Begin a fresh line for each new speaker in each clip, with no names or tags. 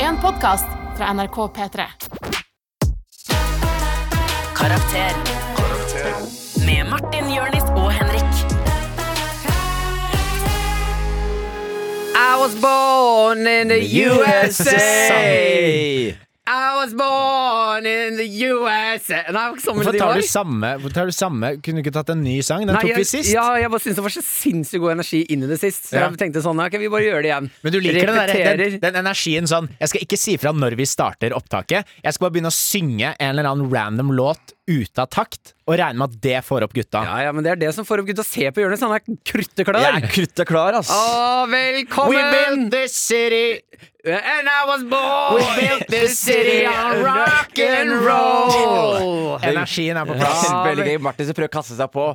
en podkast fra NRK P3.
Karakter. Med Martin, Jørnis og Henrik.
I was born in the USA. I was born in the USA. Nei, det var ikke sånn
Hvorfor
melodi
tar
var.
du samme? Hvorfor tar du samme? Kunne du ikke tatt en ny sang? Den
Nei,
tok vi
jeg,
sist.
Ja, jeg bare syntes det var så sinnssykt god energi inn i det sist. Så
Ja.
jeg tenkte sånn, ok, vi bare gjør det igjen.
Men du liker den, der,
Repeterer.
den, den energien sånn Jeg skal ikke si fra når vi starter opptaket. Jeg skal bare begynne å synge en eller annen random låt ute av takt, og regne med at det får opp gutta.
Ja, ja, men det er det som får opp gutta å se på sånn Jonis. Han er krutteklar.
Jeg er kruttet klar, ass.
Å,
We
velkommen!
built this city,
And I was
we
born
built this city on rock and roll. Energien er på plass.
Ja.
Veldig gøy. Martin som prøver å kaste seg på.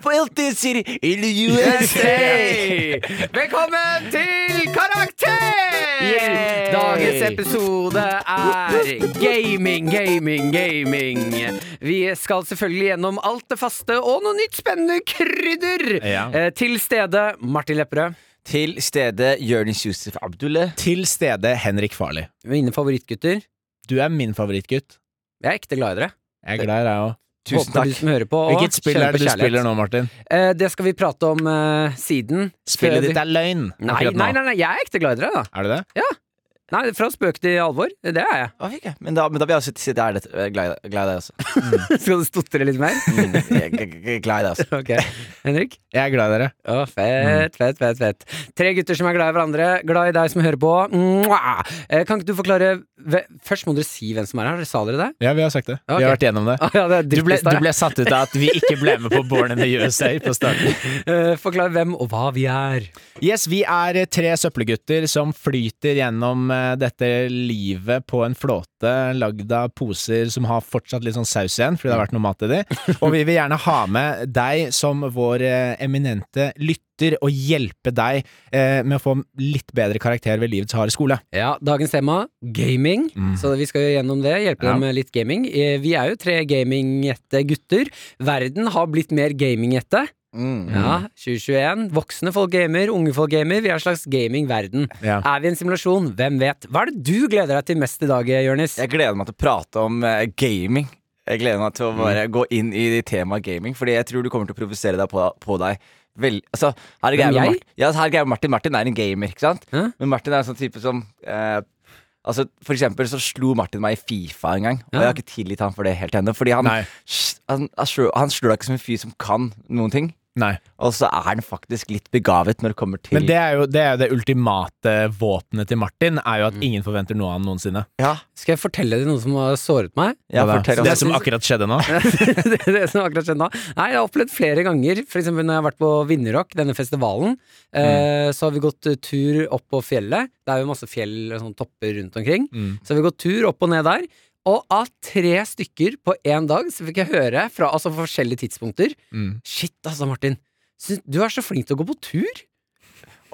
Built this city in the USA!
Velkommen til Karakter!
Yay!
Dagens episode er gaming, gaming, gaming. Vi skal selvfølgelig gjennom alt det faste og noe nytt spennende krydder.
Ja.
Eh, Til stede Martin Lepperød.
Til stede Jonis Yusuf Abdullah.
Til stede Henrik Farley.
Mine favorittgutter.
Du er min favorittgutt.
Jeg er ekte glad i dere.
Jeg er glad i deg òg.
Tusen
Håper
takk.
du som hører på. og
Hvilket spill
kjenner
er det
på
du
kjærlighet.
spiller nå, Martin?
Eh, Det skal vi prate om eh, siden.
Spillet
Før vi-
ditt er løgn.
Nei,
akkurat nå.
nei, nei, nei, jeg er ekte glad i dere, da.
Er det det?
Nei, Fra spøk til alvor. Det er jeg.
Å, fikk jeg. Men da, men da vil jeg også si at jeg er litt- jeg er glad i deg- glad i deg også.
Skal du stotre litt mer?
Mm, jeg- jeg- jeg er glad i deg også.
Ok, Henrik?
Jeg er glad i dere.
Å, fett, fett, fett, fett. Tre gutter som er glad i hverandre. Glad i deg som hører på. Mwah! Eh, Kan ikke du forklare ve- Først må dere si hvem som er her. Sa dere det?
Ja, vi har sagt det.
Ok.
Vi har vært gjennom det.
Ah, ja, det er
Du ble,
drittest der.
du ble satt ut av at vi ikke ble med på Born in the USA på starten.
Eh, Forklar hvem og hva vi er.
Yes, vi er eh, tre søppelgutter som flyter gjennom eh, dette livet på en flåte lagd av poser som har fortsatt litt sånn saus igjen, fordi det har vært noe mat i de. Og vi vil gjerne ha med deg som vår eh, eminente lytter, og hjelpe deg eh, med å få litt bedre karakter ved livets harde skole.
Ja, dagens tema gaming.
Mm.
Så vi skal jo gjennom det. Hjelpe
Ja.
dem med litt gaming. Eh, Vi er jo tre gaminghette gutter. Verden har blitt mer gaminghette.
Mm.
Ja, 2021. Voksne folk gamer, unge folk gamer. Vi er en slags gamingverden.
Ja.
Ah.
Er vi i en simulasjon? Hvem vet? Hva er det du gleder deg til mest i dag, Jonis?
Jeg gleder meg til å prate om eh, gaming. Jeg gleder meg til å
Mm.
bare gå inn i temaet gaming, Fordi jeg tror du kommer til å provosere deg på, på deg. Vel, altså, her er greia med
jeg?
Martin. Ja, altså, her er greia med Martin. Martin er en gamer, ikke sant?
Hæ?
Men Martin er en sånn type som eh, Altså, For eksempel så slo Martin meg i Fifa en gang, og
Ja.
jeg har ikke tilgitt han for det helt ennå. Fordi han,
Nei.
s- han, han, slår, han slår deg ikke som en fyr som kan noen ting,
Nei.
og så er han faktisk litt begavet når det kommer til
Men det er jo det, er jo det ultimate våpenet til Martin, er
Mm.
jo at ingen forventer noe av han noensinne.
Ja,
Skal jeg fortelle deg noe som har såret meg?
ja
Hva da? Så
fortell om
det som akkurat skjedde nå.
det, er det som akkurat skjedde nå. Nei, jeg har opplevd flere ganger, f.eks. når jeg har vært på Vinjerock, denne festivalen, eh, så har vi gått eh, tur opp på fjellet. Det er jo masse fjell og sånne topper rundt omkring.
Mm.
Så har vi gått tur opp og ned der. Og av tre stykker på én dag så fikk jeg høre fra altså, fra forskjellige tidspunkter
Mm.
Shit, altså, Martin. Syns, du er så flink til å gå på tur.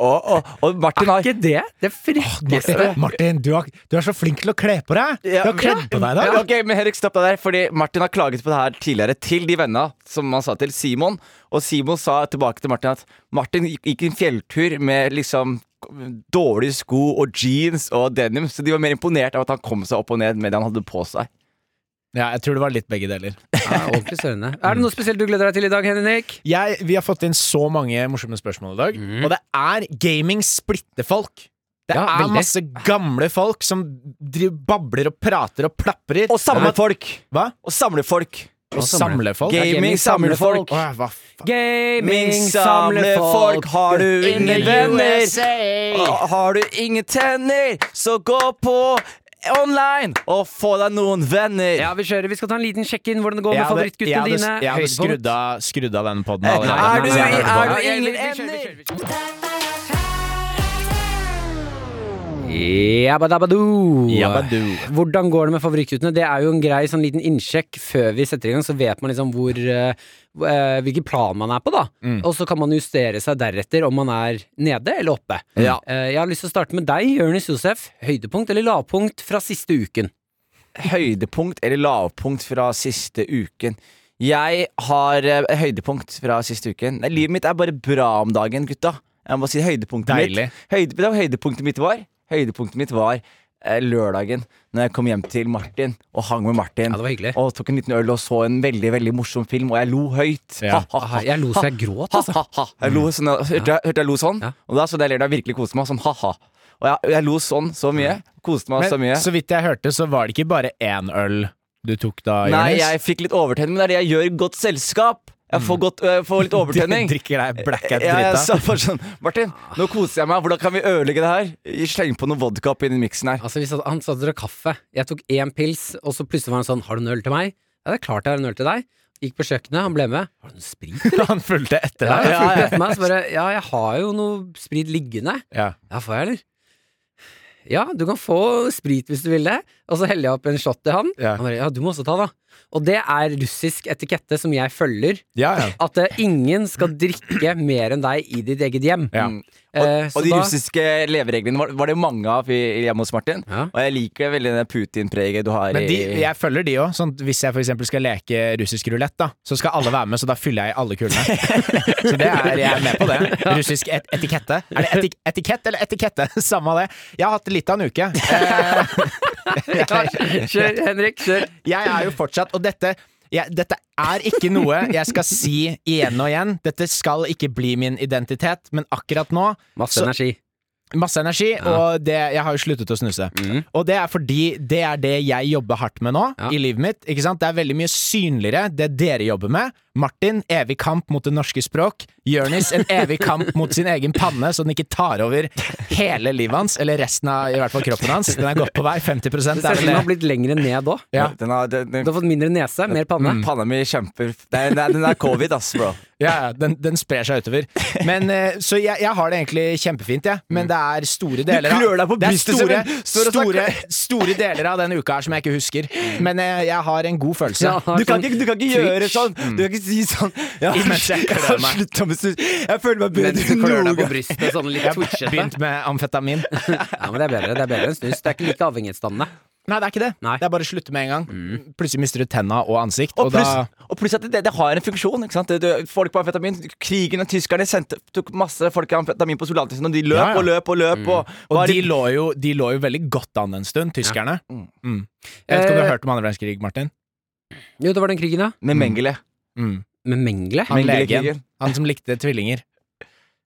Og, og, og Martin
Er
har
ikke det det frekkeste?
Martin, Martin du, har, du er så flink til å kle på deg! Du
Ja.
har kledd på deg i dag!
Ja, Ok, men Henrik, stopp deg der, fordi Martin har klaget på det her tidligere til de vennene som han sa til Simon. Og Simon sa tilbake til Martin at Martin gikk- gikk en fjelltur med liksom dårlige sko og jeans og denim, så de var mer imponert av at han kom seg opp og ned med det han hadde på seg.
Ja, jeg tror det var litt begge deler.
Ja, ordentlig sørende. Er det noe spesielt du gleder deg til i dag, Henrik?
Jeg, vi har fått inn så mange morsomme spørsmål i dag,
Mm.
og det er gaming splitter folk. Det
Ja,
er
veldig.
masse gamle folk som driver, babler og prater og plaprer.
Å samle folk!
Hva?
Å samle folk!
Og samle folk?
Gaming, samler folk.
Åh, hva faen?
Gaming
Gaming samler folk, har du ingen venner? Og Har du ingen tenner, så gå på online og få deg noen venner.
Ja, vi kjører. Vi skal ta en liten sjekk-inn hvordan det går med
jeg
favorittguttene
hadde,
dine.
jeg hadde
Høydepunkt.
skrudd, av, skrudd av den poden
Eh,
allerede.
er du-
Så jeg
er
hørte på den.
du-
Ja,
ingen
vi kjører, vi
ender?
kjører, vi kjører. Jabba-dabba-doo.
Jabba-doo.
Hvordan går det med favorittguttene? Det er jo en grei sånn liten innsjekk før vi setter i gang, så vet man liksom hvor eh, eh, hvilken plan man er på, da.
Mm.
Og så kan man justere seg deretter om man er nede eller oppe.
Ja.
Eh, jeg har lyst til å starte med deg, Jonis Josef. Høydepunkt eller lavpunkt fra siste uken?
høydepunkt eller lavpunkt fra siste uken? Jeg har eh, høydepunkt fra siste uken. Nei, livet mitt er bare bra om dagen, gutta. Jeg må si høydepunktet
Deilig.
mitt. Høyde, vet du hva høydepunktet mitt var? Høydepunktet mitt var eh, lørdagen Når jeg kom hjem til Martin og hang med Martin.
Ja, det var hyggelig.
Og tok en liten øl og så en veldig veldig morsom film, og jeg lo høyt.
Ja.
Ha, ha, ha,
Ah, Jeg lo så jeg gråt, altså.
ha, ha, ha. Jeg lo sånn, jeg hørte, jeg, hørte jeg lo sånn,
Ja.
og da så jeg ler da jeg virkelig koste meg. Sånn ha-ha. Og jeg, jeg lo sånn så mye. Koste meg
Men
så mye.
så vidt jeg hørte, så var det ikke bare én øl du tok da,
Nei,
Jonis?
jeg fikk litt overtenning, men det er det jeg gjør i godt selskap. Jeg får, godt, øh, får litt overtenning.
Drikker deg blackout
Ja, jeg
drita.
sa bare sånn Martin, nå koser jeg meg. Hvordan kan vi ødelegge det her? Sleng på noe vodka oppi den miksen her.
Altså, hvis han- han satt og drakk kaffe, jeg tok én pils, og så plutselig var han sånn 'Har du en øl til meg?' Ja, det er klart jeg har en øl til deg. Gikk på kjøkkenet, han ble med. 'Har du noe sprit?'
Han fulgte etter
Ja,
deg.
jeg
ja,
fulgte
ja.
etter meg, så bare 'Ja, jeg har jo noe sprit liggende'.
Ja.
Ja, får jeg, eller? Ja, du kan få sprit hvis du vil det. Og så heller jeg opp en shot til han.
Ja.
Han bare 'Ja, du må også ta, da'. Og det er russisk etikette som jeg følger.
Ja, ja.
At eh, ingen skal drikke mer enn deg i ditt eget hjem.
Ja.
Mm.
Eh,
Og,
så
og de
da-
russiske levereglene var, var det mange av i, hjemme hos Martin.
Ja.
Og jeg liker veldig det Putin-preget du har
Men de,
i
jeg følger de òg. Sånn, at hvis jeg f.eks. skal leke russisk rulett, da, så skal alle være med, så da fyller jeg i alle kulene. så det er, jeg er med på det. Russisk et etikette. Er det etik etikett eller etikette? Samme av det. Jeg har hatt litt av en uke. Eh,
Kjør, Henrik. Kjør.
jeg er jo fortsatt Og dette jeg, dette er ikke noe jeg skal si igjen og igjen. Dette skal ikke bli min identitet, men akkurat nå
Masse
så-
energi.
Masse energi, og det, jeg har jo sluttet å snuse. Og det er fordi det er det jeg jobber hardt med nå
Mhm. Ja.
i livet mitt. ikke sant? Det er veldig mye synligere det dere jobber med. Martin, evig kamp mot det norske språk. Jonis, en evig kamp mot sin egen panne, så den ikke tar over hele livet hans, eller resten av i hvert fall kroppen hans. Den er godt på vei. 50
Det
er
ser ut som
vel
den
det.
har blitt lengre ned òg.
Ja.
Den har, den,
Du
den,
har fått mindre nese, mer panne.
Panna mi kjemper. Det er, det er, den er covid, ass, bro.
Ja, ja, den, den sprer seg utover. Men, eh, så jeg, jeg har det egentlig kjempefint, jeg. Men det er store deler
Mm. klør deg på
Det er
brystet,
store,
Simen. Står og
store,
snakker.
store deler av denne uka her som jeg ikke husker. Men eh, jeg har en god følelse. Mm.
Ja,
Mm. Du kan
sånn-
ikke, du kan ikke gjøre sånn! Du kan ikke si sånn ja,
Mens jeg klør
har
meg.
sluttet med snus. Jeg føler meg
Mens
bedre
du
enn
klør deg
noen
på
gang.
brystet sånn litt
Jeg har
twitchete.
begynt med amfetamin.
Ja, men det er bedre det er bedre enn snus. Det er ikke like avhengighetsdannende.
Nei, det er ikke det.
Nei.
Det er bare å slutte med en gang. Plutselig mister du tenna og ansikt,
Mm. Og
og,
pluss,
da
og pluss at det, det har en funksjon. Ikke sant? Det, det, folk på amfetamin Krigen og tyskerne sendte, tok masse folk av amfetamin på soldatene sine, og de løp
Ja, ja.
og løp og løp. Og,
og
var
de
i-
lå, jo, de lå jo veldig godt an en stund, tyskerne. Mm. Jeg vet ikke om du
Eh,
har hørt om andre verdenskrig, Martin?
Jo, det var den krigen, ja.
med Mengele.
Mm.
Med Mengele.
Han legen.
Mengele-krigen.
Han som likte tvillinger.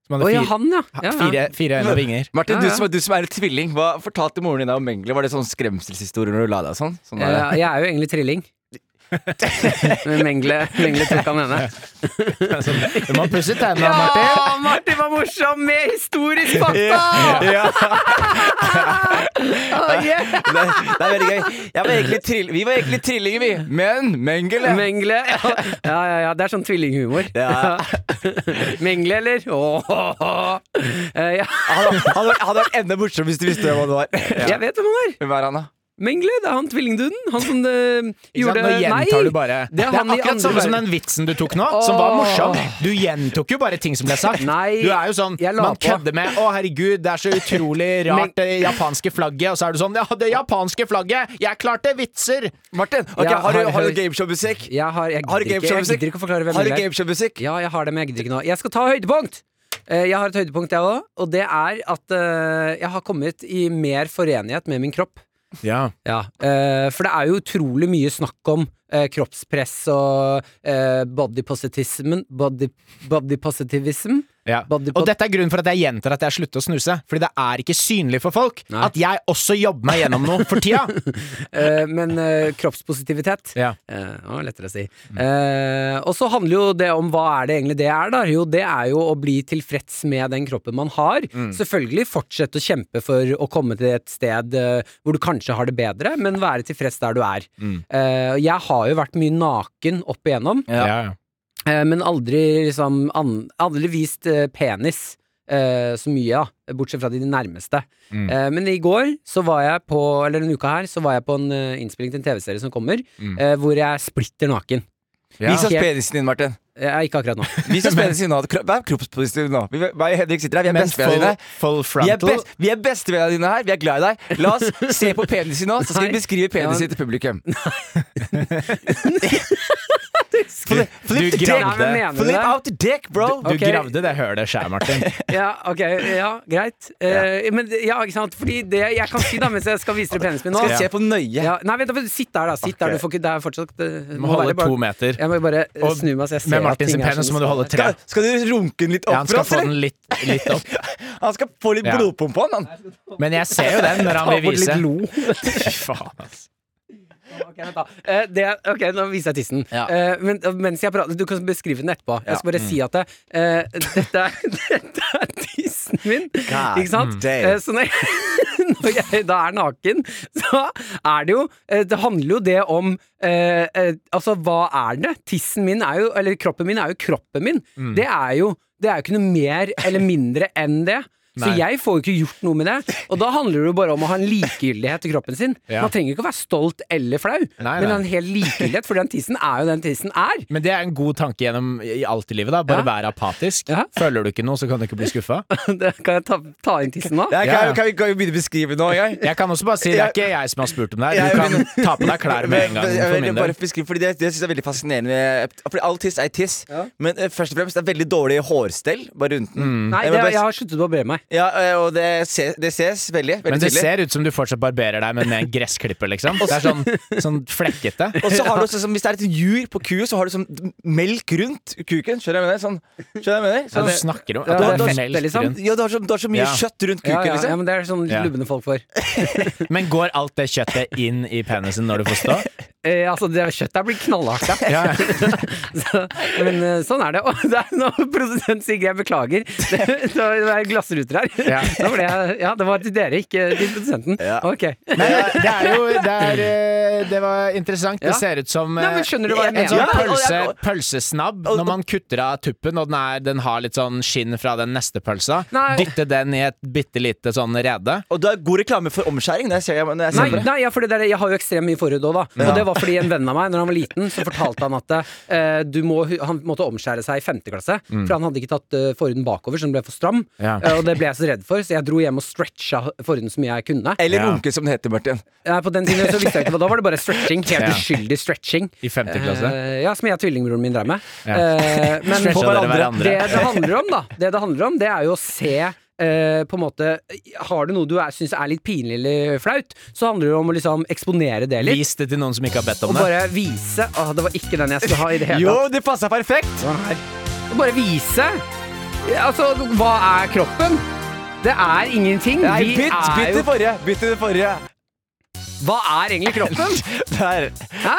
Som
Å
hadde
ja,
fire,
han, ja. ja, ja.
fire, fire øyne og vinger.
Martin,
Ja,
du
ja.
som, er- du som er en tvilling, hva fortalte moren din deg om Mengele? Var det sånn skremselshistorie når du la deg sånn? sånn der?
Eh, Jeg er jo egentlig trilling. Men Mengle, Mengle tok han ene.
Du må pusse tenna, Martin.
Å, Martin var morsom med historisk fakta!
Ja.
Å, yeah.
Det, det er veldig gøy. Jeg var egentlig trill, vi var egentlig trillinger, vi. Men Mengele
Mengle. Ja, ja, ja, ja. Det er sånn tvillinghumor.
Ja.
Mengle, eller? Åh. Eh, ja.
Han hadde- han hadde hadde vært enda morsommere hvis du visste hvem han var.
Jeg vet hvem han er.
Hvem er han, da?
Mengle, det er han tvillingduden. Han som eh,
Ikke sant?
gjorde
Nå gjentar du bare
det er han i
akkurat
andre
samme som
verden.
den vitsen du tok nå, som
Åh.
var morsom. Du gjentok jo bare ting som ble sagt.
Nei,
du er jo sånn
jeg la
Man
på.
kødder med 'Å, herregud, det er så utrolig
Men-
rart, det japanske flagget', og så er du sånn 'Ja, det japanske flagget! Jeg klarte vitser!'
Martin, ok,
Ja,
har, du-
har-
har du
har-
gameshow-musikk?
Jeg, har, jeg,
Har
gidder
du
ikke, jeg
gameshow-musikk?
gidder ikke å forklare hvem
Har du
Mengle er.
gameshow-musikk?
Ja, jeg har det, men jeg gidder ikke nå. Jeg skal ta høydepunkt! Eh, Jeg har et høydepunkt, jeg òg, og det er at eh, jeg har kommet i mer forenighet med min kropp.
Ja.
Ja, eh, for det er jo utrolig mye snakk om eh, kroppspress og eh, body positivism body, body positivism Body
Og
po-
dette er grunnen for at jeg gjentar at jeg slutter å snuse. Fordi det er ikke synlig for folk
Nei.
at jeg også jobber meg gjennom noe for tida.
eh, men eh, kroppspositivitet
Ja.
Eh, det var lettere å si. Eh, og så handler jo det om hva er det egentlig det er, da. Jo, det er jo å bli tilfreds med den kroppen man har.
Mm.
Selvfølgelig fortsette å kjempe for å komme til et sted eh, hvor du kanskje har det bedre, men være tilfreds der du er. Eh, og jeg har jo vært mye naken opp igjennom,
Ja.
eh, men aldri liksom an, Aldri vist eh, penis. eh, så mye, da. Bortsett fra de nærmeste.
Mm.
Eh, men i går, så var jeg på Eller denne uka her, så var jeg på en eh, innspilling til en TV-serie som kommer,
Mm.
eh, hvor jeg er splitter naken.
Vis oss
Helt-
penisen din, Martin.
Eh, ikke akkurat nå.
Vis oss penisen din nå. Kro- Vær kroppspositiv nå. Vi, meg og Henrik sitter her, vi er
Men full,
bestevennene dine.
full
Vi er,
frontal
best, vi er bestevennene dine her, vi er glad i deg. La oss se på penisen nå, så skal vi
Nei.
beskrive
Ja,
penisen
men-
til publikum. Flip,
Du
flip the dick!
gravde.
Nei, men mener du
Flip
det?
out the dick, bro!
Du
Ok.
gravde det hølet sjæl, Martin.
Ja, ok, ja, greit. Eh, men det- ja, ikke sant? Fordi det jeg kan si, da, mens jeg skal vise dere penisen min nå
Skal jeg se på nøye?
ja, Nei, vent, da, sitt der, da. Sitt
Ok.
der. Du får ikke Det er fortsatt eh, det,
Du må holde to meter.
Jeg må bare eh,
Og
snu meg, så jeg ser
Med
at
Martins
ting er
penis
som
må
det
du holde
skal
tre.
Skal, skal du runke den litt
Ja,
opp
han
for
skal
oss,
få den
eller?
litt, litt opp.
Han skal få litt
Ja.
blodpumpe på han, han.
Men jeg ser jo den når han
Ta
vil
bort litt
vise.
lo.
Fy faen, ass.
Ok, vent da. Eh, det, ok, nå viser jeg tissen.
Ja.
Eh, men mens jeg prater, Du kan beskrive den etterpå. Jeg skal bare si at det, eh, dette, er, dette er tissen min.
God
ikke sant?
damn.
Eh, så når jeg, når jeg da er naken, så er det jo eh, Det handler jo det om eh, eh, Altså, hva er det? Tissen min er jo Eller kroppen min er jo kroppen min.
Mm.
Det er jo Det er jo ikke noe mer eller mindre enn det. Så
Nei.
jeg får jo ikke gjort noe med det. Og da handler det jo bare om å ha en likegyldighet til kroppen sin.
Ja.
Man trenger ikke å være stolt eller flau,
Nei,
men
nei.
en hel likegyldighet, for den tissen er jo den tissen er.
Men det er en god tanke gjennom i alt i livet. da Bare
Ja.
vær apatisk.
Ja.
Føler du ikke noe, så kan du ikke bli skuffa.
Det- Kan jeg ta, ta inn tissen nå?
Det
Ja,
er,
ja.
kan, kan, vi, kan vi begynne å beskrive nå en gang?
Jeg kan også bare si det er ikke jeg som har spurt om det her.
Jeg
Du kan
vil-
ta på deg klær med en gang.
Jeg
For
vil
min
bare
del.
beskrive, fordi det, det synes jeg er veldig fascinerende med, Fordi all tiss er tiss Men eh, først og fremst det er veldig dårlig hårstell Bare rundt den
Mm.
Nei,
Jeg
det,
må bare-
jeg har sluttet å bre meg.
ja, eh, Og det, se, det ses veldig, veldig
Men det
tydelig
ser ut som du fortsatt barberer deg, men med en gressklipper, liksom. Det er sånn, sånn flekkete.
Og så har du også, sånn, hvis det er et jur på kua Så har du sånn melk rundt kuken Skjønner du hva jeg mener? Sånn, skjønner du hva jeg mener?
Ja,
Sånn,
du snakker om
Ja,
at
det er
det er
fett,
melk
liksom.
rundt.
ja, du har så, du har så mye
Ja.
kjøtt rundt
Ja,
kuken
ja, ja,
liksom.
men det er sånn
Ja.
lubne folk får.
Men går alt det kjøttet inn i penisen når du får stå?
Eh, altså, det kjøttet her blir knallhardt, ja.
Ja, ja.
Så, men eh, sånn er det. Og det er nå produsent Sigrid, jeg beklager. Det, det var- det er glassruter her.
Ja.
Da ble jeg, ja, det var til dere, ikke til produsenten.
Ja.
Ok.
Nei, det er jo det, er, eh, det var interessant.
Ja.
Det ser ut som
Nei,
eh,
men skjønner du hva jeg
en sånn
mener? Ja, og
pølse,
jeg- og-
pølsesnabb.
og-
Når man kutter av tuppen, og den, er, den har litt sånn skinn fra den neste pølsa.
Nei.
Dytte den i et bitte lite sånn rede.
Og du har god reklame for omskjæring Når jeg ser, når jeg ser
Nei,
på det
nei ja, for det der, jeg har jo ekstremt mye forhud òg, da. Og det var fordi en venn av meg, når han var liten, så fortalte han at eh, du må, han måtte omskjære seg i femte klasse. For han hadde ikke tatt eh, forhuden bakover, så den ble for stram.
Ja.
Eh, og det ble jeg så redd for, så jeg dro hjem og stretcha forhuden som jeg kunne.
Eller
Ja.
runke som det heter, Martin
Eh, på den tiden så visste jeg ikke hva Da var det bare stretching. Helt
Ja.
uskyldig stretching.
I femte klasse.
Eh, ja, som jeg og tvillingbroren min drev med.
Ja.
Eh, men
Stretcha
dere
hverandre.
Det det handler om, da, det det handler om, det er jo å se eh, på en måte Har du noe du syns er litt pinlig eller flaut, så handler det om å liksom eksponere det litt.
Vis det til noen som ikke har bedt
Og
om det.
bare vise Åh, det var ikke den jeg skulle ha i det hele
Jo,
tatt.
det passer perfekt
Det var den her. Og Bare vise. Altså, hva er kroppen? Det er ingenting.
Nei,
Vi
bytt,
er
bytt
jo-
det forrige Bytt til det forrige
Hva er egentlig kroppen?
Der.
Hæ?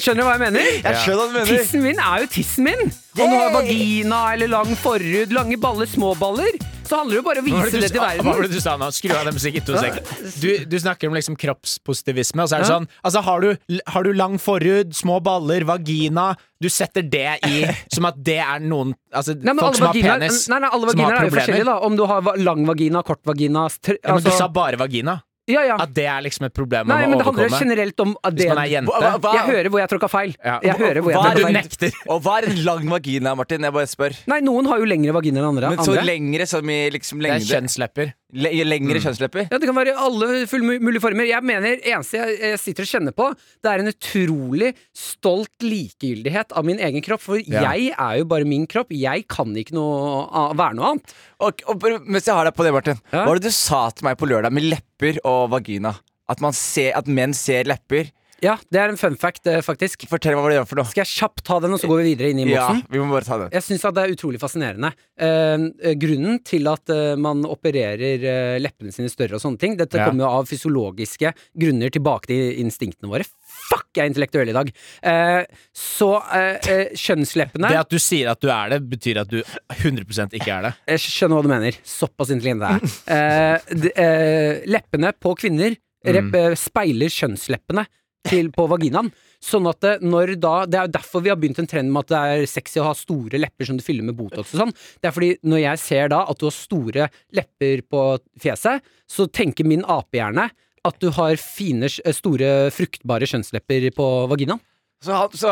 Skjønner du hva jeg mener?
Jeg skjønner hva du mener
Tissen min er jo tissen min! Om du har vagina eller lang forhud, lange baller, små baller, så handler det jo bare å
Hva var
vise
det du
det til
sa- hva var
verden.
det du sa nå? Skru av den musikken to sekunder. Du, du snakker om liksom kroppspositivisme, og så er det sånn Altså, har du, har du lang forhud, små baller, vagina Du setter det i som at det er noen Altså,
Nei, men alle
folk som har
vaginaer,
penis,
nei, nei, alle
som har
vaginaer er jo
problemer.
forskjellige, da. Om du har va- lang vagina, kort vagina str-
Ja, men du
altså-
sa bare vagina.
ja, ja.
At det er liksom et problem
Nei,
man
men
må
det handler
overkomme.
generelt om at det
Hvis man er jente.
Hva- hva-
Jeg hører hvor jeg tråkka feil.
Ja.
Jeg hører hvor jeg
Men
Hva er det
tråkka
du
feil?
feil.
nekter.
Og hva er en lang vagina, Martin? Jeg bare spør.
Nei, noen har jo lengre vagina enn andre.
Men så
andre.
lengre som i liksom
Det er
lengde
kjønnslepper.
le,
Mm.
Lengre kjønnslepper?
Ja, Det kan være alle full- mulige former. Jeg mener eneste jeg, jeg sitter og kjenner på, det er en utrolig stolt likegyldighet av min egen kropp. For
Ja.
jeg er jo bare min kropp. Jeg kan ikke noe, a- være noe annet.
Og, og bare- mens jeg har deg på det, Martin,
Ja?
hva var det du sa til meg på lørdag med lepper og vagina? At, man ser, at menn ser lepper?
Ja, det er en fun fact, eh, faktisk.
Fortell meg hva det gjør for noe.
Skal jeg kjapt ta den, og så går vi videre inn i
Ja,
mosen?
vi må bare ta den.
Jeg syns det er utrolig fascinerende. Eh, eh, grunnen til at eh, man opererer eh, leppene sine større og sånne ting, dette
Ja.
kommer jo av fysiologiske grunner tilbake til instinktene våre. Fuck, jeg er intellektuell i dag! Eh, så eh, eh, kjønnsleppene
Det at du sier at du er det, betyr at du 100 ikke er det.
Jeg skjønner hva du mener. Såpass intelligent det er. Eh, d- eh, leppene på kvinner rep,
Mm.
eh, speiler kjønnsleppene til, på vaginaen. Sånn at det, når da Det er jo derfor vi har begynt en trend med at det er sexy å ha store lepper som du fyller med Botox og sånn. Det er fordi når jeg ser da at du har store lepper på fjeset, så tenker min eh, apehjerne at du har fine, s- store, fruktbare kjønnslepper på vaginaen.
Så, han, så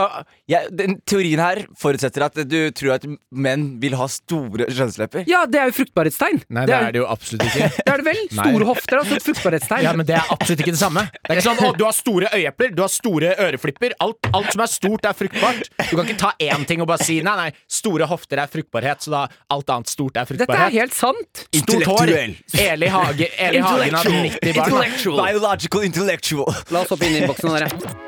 jeg, den teorien her forutsetter at du tror at menn vil ha store kjønnslepper.
Ja, det er jo fruktbarhetstegn!
Nei, det er det jo absolutt ikke.
Det er det vel?
Nei.
Store hofter er altså et fruktbarhetstegn.
Ja, men det er absolutt ikke det samme. Det er ikke sånn, å, Du har store øyeepler, du har store øreflipper. Alt, alt som er stort, er fruktbart. Du kan ikke ta én ting og bare si nei, nei, store hofter er fruktbarhet, så da alt annet stort er
Dette er
fruktbarhet.
helt sant!
Stort hår.
Intellektuell.
Eli Hage, Eli Hagen hadde 90 barn.
Biological intellectual.
La oss hoppe inn i innboksen, dere.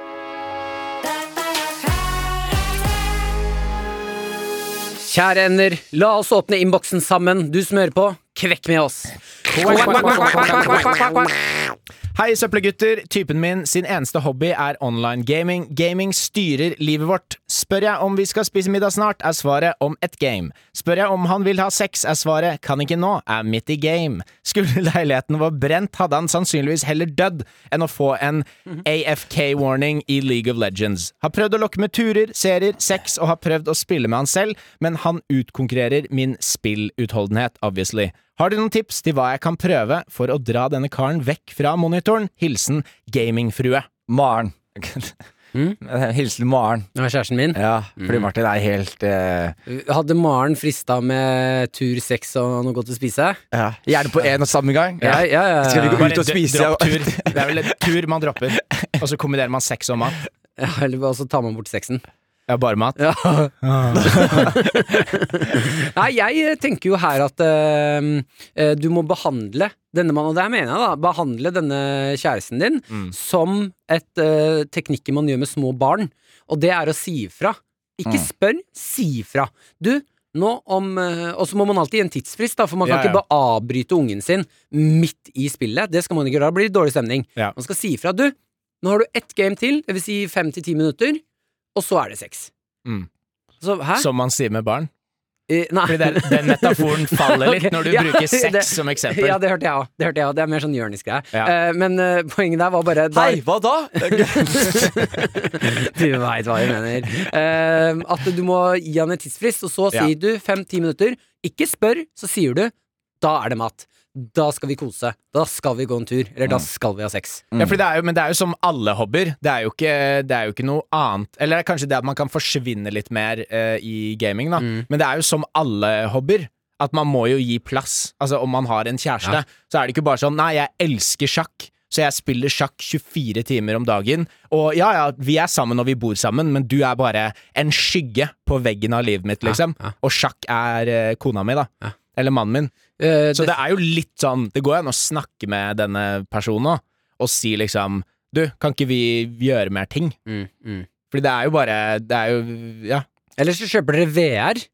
Kjære ender, la oss åpne innboksen sammen. Du som hører på, kvekk med oss.
Hei, søppelgutter. Typen min sin eneste hobby er online gaming. Gaming styrer livet vårt. Spør jeg om vi skal spise middag snart, er svaret om et game. Spør jeg om han vil ha sex, er svaret kan ikke nå, er midt i game. Skulle leiligheten vår brent, hadde han sannsynligvis heller dødd enn å få en AFK-warning i League of Legends. Har prøvd å lokke med turer, serier, sex og har prøvd å spille med han selv, men han utkonkurrerer min spillutholdenhet, obviously. Har du noen tips til hva jeg kan prøve for å dra denne karen vekk fra monitoren? Hilsen gamingfrue.
Maren. Hilsen Maren.
Det var kjæresten min.
Mm? Ja, fordi
Mm.
Martin er helt eh,
Hadde Maren frista med tur, sex og noe godt å spise?
ja. Gjerne på én og samme gang.
Ja, ja, ja.
Skal vi gå
Bare
ut og
d-
spise,
dropp
ja.
tur. Det er vel en tur man dropper, og så kombinerer man sex og mat.
ja eller bare så tar man bort sexen.
Ja, bare mat.
Ja. Nei, jeg eh, tenker jo her at øhm, øh, du må behandle denne mannen, og det her mener jeg da, behandle denne kjæresten din
Mm.
som et øh, teknikker man gjør med små barn, og det er å si ifra. Ikke
Mm.
spør, si ifra. Du, nå om øh, Og så må man alltid gi en tidsfrist, da, for man kan
Ja, ja.
ikke bare avbryte ungen sin midt i spillet. Det skal man ikke gjøre, da blir det dårlig stemning.
Ja.
Man skal si ifra. Du, nå har du ett game til, det vil si fem til ti minutter, og så er det sex.
Mm.
Så, hæ?
Som man sier med barn.
Eh, nei.
Fordi den, den metaforen faller litt når du
Ja,
bruker
det-
sex som eksempel.
Ja, det hørte jeg òg. Det, hørte jeg også. det er mer sånn Jonis-greie.
Ja.
Eh, men eh, poenget der var bare da-
Hei, hva da?
Du veit hva jeg mener. Eh, at du må gi han en tidsfrist, og så
Ja.
sier du fem-ti minutter. Ikke spør, så sier du da er det mat. Da skal vi kose. Da skal vi gå en tur. Eller
Mm.
da skal vi ha sex.
Ja, for det er jo, men det er jo som alle hobbyer. Det er jo ikke, det er jo ikke noe annet Eller det er kanskje det at man kan forsvinne litt mer eh, i gaming, da.
Mm.
Men det er jo som alle hobbyer. At man må jo gi plass. Altså Om man har en kjæreste, så er det ikke bare sånn Nei, jeg elsker sjakk, så jeg spiller sjakk 24 timer om dagen. Og ja, ja, vi er sammen og vi bor sammen, men du er bare en skygge på veggen av livet mitt, liksom.
ja.
Og sjakk er eh, kona mi, da.
Ja.
Eller mannen min.
Eh,
Så
det,
det er jo litt sånn Det går jo an å snakke med denne personen også, og si liksom Du, kan ikke vi gjøre mer ting?
mm, mm.
Fordi det er jo bare Det er jo Ja.
Eller så kjøper dere VR,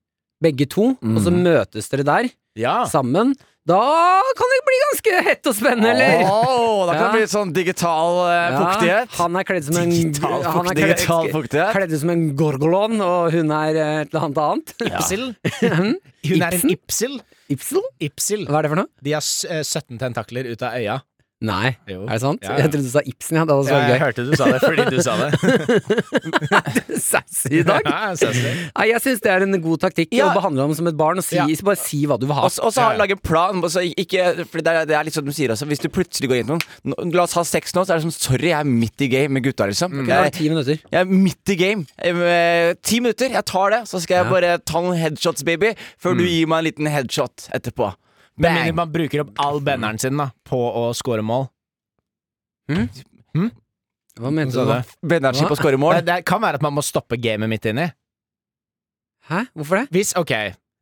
begge to, og så
Mm.
møtes dere der
ja.
sammen. Da kan det bli ganske hett og spennende, eller?
Åh, da kan
Ja.
det bli sånn digital eh, fuktighet.
Han er kledd som en
Digital
han er
fukt- digital fuktighet.
Kledd ut som en gorgolon, og hun er eh, et eller annet annet.
Ipsil. Hun er
Ibsen?
en ipsil.
Ipsil?
Ipsil.
Hva er det for noe?
De har s- eh, 17 tentakler ut av øya.
Nei,
Jo.
er det sant?
Ja, ja.
Jeg trodde du sa Ibsen, ja. Det hadde
Ja, jeg
vært
hørte du sa det fordi du sa det.
så gøy. Sassy i dag.
Ja, ses vi.
Nei, jeg syns det er en god taktikk
Ja.
å behandle ham som et barn og si,
Ja.
bare si hva du vil ha.
Og så- og så
Ja,
har
ja.
han laget en plan. og så Ikke, for det, er, det er litt sånn du sier også Hvis du plutselig går inn til noen "Nå- La oss ha sex nå, så er det sånn Sorry, jeg er midt i game med gutta, liksom.
Det er
Jeg,
ti minutter.
jeg er midt i game. Eh, Ti minutter, jeg tar det. Så skal jeg
Ja.
bare ta noen headshots, baby, før du gir meg en liten headshot etterpå.
Med mindre
Bang!
man bruker opp all banneren sin da på å score mål.
Hva mente
Hva
du
sa
nå?
Bennerskip
Hva?
og skårer
Det,
mål.
det kan være at man må stoppe gamet midt inni.
Hæ? Hvorfor det?
Hvis, ok,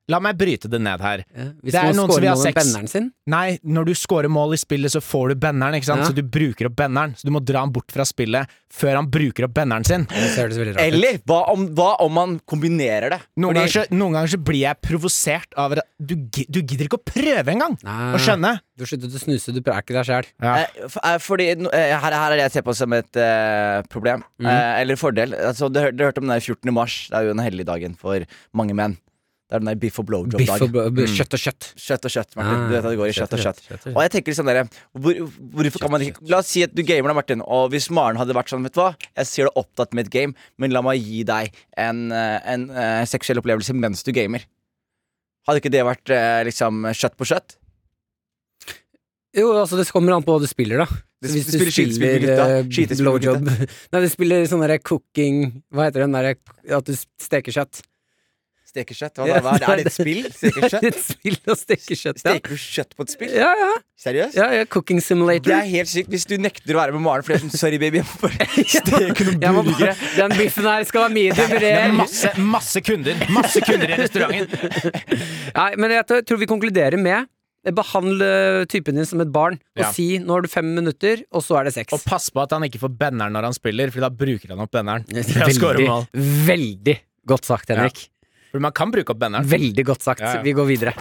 la meg bryte det ned her.
Ja. Hvis
Det er
man
noen som
scorer
vil ha
noe med
sex.
benneren sin?
Nei, når du scorer mål i spillet, så får du benneren, ikke sant?
Ja.
Så du bruker opp benneren, så du må dra han bort fra spillet før han bruker opp benneren sin.
Det høres veldig rart ut.
Eller hva om, hva om man kombinerer det?
Noen,
Fordi-
ganger, så, noen ganger så blir jeg provosert av at du, gi- du gidder ikke å prøve engang!
Nei.
Å skjønne!
Du har sluttet å snuse, du er ikke deg sjæl.
Mm. Ja.
Eh, f- eh, Fordi no- eh, her, her er det jeg ser på som et eh, problem.
Mhm.
Eh, eller fordel. Altså, du, hør- du hørte om den der 14. mars. Det er jo den hellige dagen for mange menn. Det er den der biff og
Biff og bl-
blowjob-dagen.
Mm.
kjøtt og kjøtt.
Kjøtt og kjøtt, Martin.
Ah,
du vet at det går i kjøtt og kjøtt.
og
Og jeg tenker sånn der, hvor, hvorfor kan man ikke La oss si at du gamer da, Martin. Og hvis Maren hadde vært sånn, vet du hva, jeg ser du er opptatt med et game, men la meg gi deg en, eh, en eh, seksuell opplevelse mens du gamer. Hadde ikke det vært eh, liksom kjøtt på kjøtt?
Jo, altså det kommer an på hva du spiller, da.
Du
Så hvis
sp- spiller skytespill med gutta,
eh,
skytespill med
blowjob Nei, du spiller sånn derre cooking Hva heter den derre At du steker kjøtt?
Steker kjøtt? Hva da? Hva er det? er det et spill? Steker
Det er
kjøtt?
et spill å steke kjøtt, ja.
Steker du kjøtt på et spill?
Ja, ja.
Seriøst?
ja, ja cooking
Det er
simulator.
helt sykt hvis du nekter å være med Maren fordi jeg er sånn Sorry, baby, jeg må bare steke noen
Jeg må bare,
burgere.
den biffen her skal være mye til
Det er
brer.
masse, masse kunder Masse kunder i restauranten.
Nei, men jeg tror vi konkluderer med eh, Behandle typen din som et barn, og
Ja.
si 'nå har du fem minutter', og så er det
Og
seks.
pass på at han ikke får benneren når han spiller, for da bruker han opp benneren. For å score
Veldig,
mål.
veldig godt sagt, Henrik.
For man kan bruke opp benneren.
Veldig godt sagt.
Ja, ja.
Vi går videre.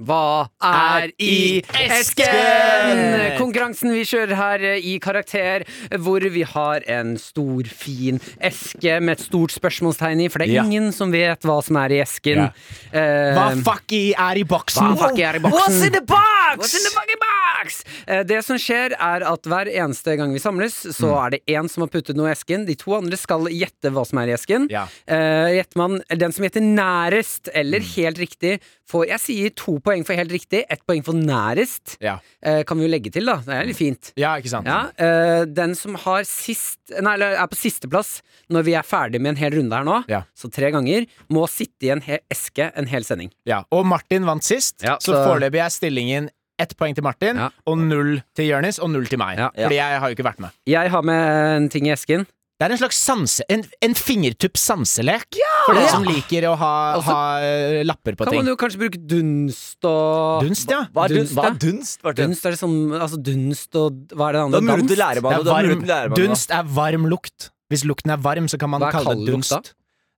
Hva er i esken? Konkurransen vi kjører her eh, i Karakter, eh, hvor vi har en stor, fin eske med et stort spørsmålstegn i, for det er
Ja.
ingen som vet hva som er i esken.
Ja.
Eh,
Hva fuck i er i boksen?
Hva fuck i er i boksen?
What's in the box?
What's in the fucking box? Eh, Det som skjer er at hver eneste gang vi samles, så
Mm.
er det én som har puttet noe i esken. De to andre skal gjette hva som er i esken.
Ja.
Eh, gjetter man, den som gjetter nærest eller
Mm.
helt riktig, får Jeg sier to poeng for helt riktig, ett poeng for nærest.
Ja.
Eh, kan vi jo legge til, da. Det er litt fint.
ja, ikke sant?
Ja, eh, Den som har sist Nei, eller er på sisteplass når vi er ferdig med en hel runde her nå,
Ja.
så tre ganger, må sitte i en hel eske en hel sending.
Ja. Og Martin vant sist,
Ja,
så,
så-
foreløpig er stillingen ett poeng til Martin,
Ja.
og null til Jonis, og null til meg.
Ja.
Fordi jeg har jo ikke vært med.
Jeg har med en ting i esken.
Det er en slags sanse... En, en fingertupp-sanselek for dere som liker å ha,
Altså,
ha eh, lapper på
Kan
ting.
man jo kanskje bruke dunst og
Dunst, ja.
Hva er dun-
Dunst,
hva
da?
er dunst? Martin?
Dunst er det som Altså dunst og Hva er det
Du
andre?
har mulighet til å lære
Det
meg
er
noe. Du har mulighet
varm,
til å lære meg noe.
dunst er varm lukt. Hvis lukten er varm, så kan man
Hva er
kalle
kald
det
lukt,
dunst.
da?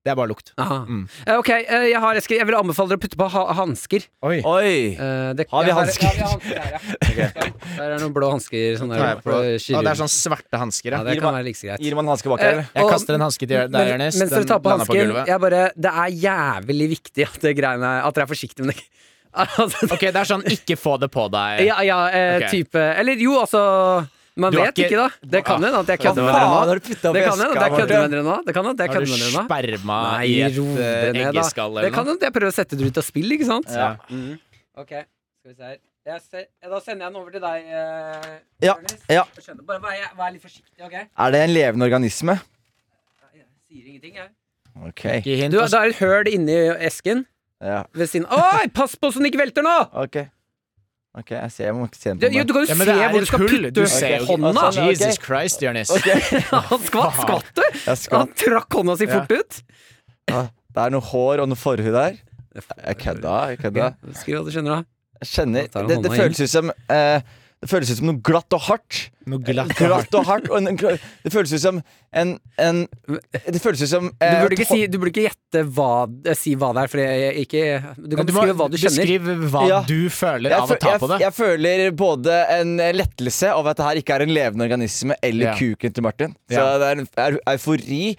Det er bare lukt.
Aha.
Mm.
Eh, ok, eh, jeg har esker. Jeg vil anbefale dere å putte på ha hansker.
Oi.
Oi!
Eh,
Har vi hansker?
Ja, vi har hansker her, ja. Der er noen blå hansker. Sånn der,
Å,
for, eh,
det er
kirurg.
sånn svarte hansker.
ja,
Ja.
det kan være like så greit.
Gir man hanske bak her, eller?
Eh,
Jeg
og-
kaster en hanske til deg,
men-
Jonis.
Mens dere
Den
tar på
landa på
hansken,
gulvet.
jeg bare Det er jævlig viktig at det greiene At dere er forsiktige med det. Altså,
Ok, det er sånn ikke få det på deg.
ja, ja, eh,
Ok.
type Eller jo, altså Man
Du har
vet
ikke-
ikke, da. Det kan
Ah,
hende at jeg
Hva
kødder med dere nå.
faen har du putta opp
Det
i
kan hende at jeg
eska?
kødder med
Martin?
dere nå. Det kan hende at jeg
Har du
kødder med dere nå.
sperma
Nei,
i et
ro
eh,
dere ned, da.
eggeskall
Det
eller
kan
noe?
hende at jeg prøver å sette det ut av spill, ikke sant?
Ja.
Ok, skal vi se her. Jeg ser, ja, da sender jeg den over til deg, eh,
Ja,
Ernest.
ja.
Jeg skjønner. Bare vær, vær litt forsiktig, OK?
Er det en levende organisme?
Jeg sier ingenting, jeg.
Ok.
Ikke hint,
Du,
altså.
det er et høl inni esken
Ja.
ved siden Oi, pass på så den ikke velter nå!
Ok. Ok, jeg ser jeg må ikke se den
Du,
på
jo,
meg.
du kan jo
Ja, men
se
det er
hvor
et
du skal
hull.
putte
Du ser jo ikke-
hånda!
Altså, ok.
Jesus Christ, Jonis.
Han skvatt, skvatt du!
Jeg skal,
Han trakk hånda si fort ut.
ah, det er noe hår og noe forhud her. Jeg kødda. Jeg kødda.
Skriv hva du skjønner, da.
Jeg kjenner
Da tar han
Det, det
hånda
føles ut som eh, Det føles ut som noe glatt og hardt.
Noe glatt.
Glatt og hardt og en, Det føles ut som en, en Det føles ut som
Du
eh,
burde ikke,
et hår-
si, du burde ikke gjette hva, eh, si hva det er, for jeg, jeg ikke Du kan
Du må
beskrive hva du kjenner.
Beskriv hva
Ja.
du føler
jeg,
av å
fø-
ta
jeg,
på det.
jeg føler både en lettelse over at det her ikke er en levende organisme eller
Ja.
kuken til Martin. Så
Ja.
det er en eu- eufori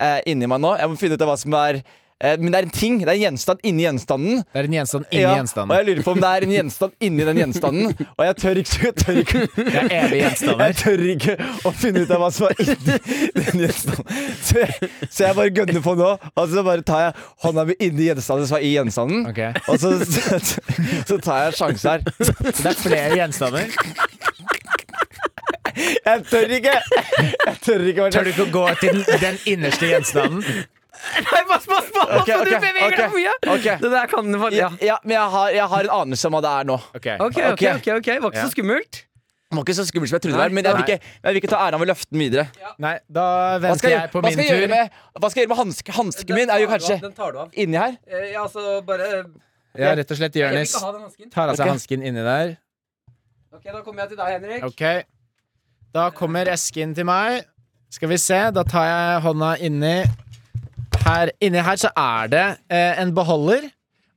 eh, inni meg nå. Jeg må finne ut av hva som er eh, Men det er en ting. Det er en gjenstand inni gjenstanden.
Det er en gjenstand inni
Ja, Og
gjenstanden.
jeg lurer på om det er en gjenstand inni den gjenstanden. Og jeg tør ikke, jeg tør ikke,
Det er evige
jeg
gjenstander.
tør ikke å finne ut av hva som er inni den gjenstanden. Så jeg, så jeg bare gønner på nå, og så bare tar jeg hånda mi inni gjenstanden som er i gjenstanden.
Ok.
Og så, så, så tar jeg en sjanse her.
Så det er flere gjenstander.
Jeg tør ikke! Jeg tør ikke
Tør du ikke å gå til den- den innerste gjenstanden?
Nei, pass, pass, pass!
Ok,
du
ok,
beveger deg
ok,
for mye!
ok.
Det der kan du ja.
Ja, men jeg har, jeg har en anelse om hva det er nå.
Ok.
Ok, ok, ok, ok, var ikke
Ja.
så skummelt.
Det var ikke så skummelt som jeg trodde det var,
Nei,
men jeg vil
nei.
ikke, jeg vil ikke ta æren av å løfte den videre.
Nei, da
Hva
venter
skal jeg,
jeg på
hva
min
skal jeg gjøre
tur.
med, hva skal jeg gjøre med hanske, hansken min? Er jo kanskje
Den tar du av.
inni her.
Eh, Ja, altså bare eh,
Ja, rett og slett
Jeg vil
Jonis
ikke ha den hansken.
tar av seg
Ok.
hansken inni der.
Ok, da kommer jeg til deg, Henrik.
Ok. Da kommer esken til meg. Skal vi se, da tar jeg hånda inni. Her, inni her så er det eh, en beholder,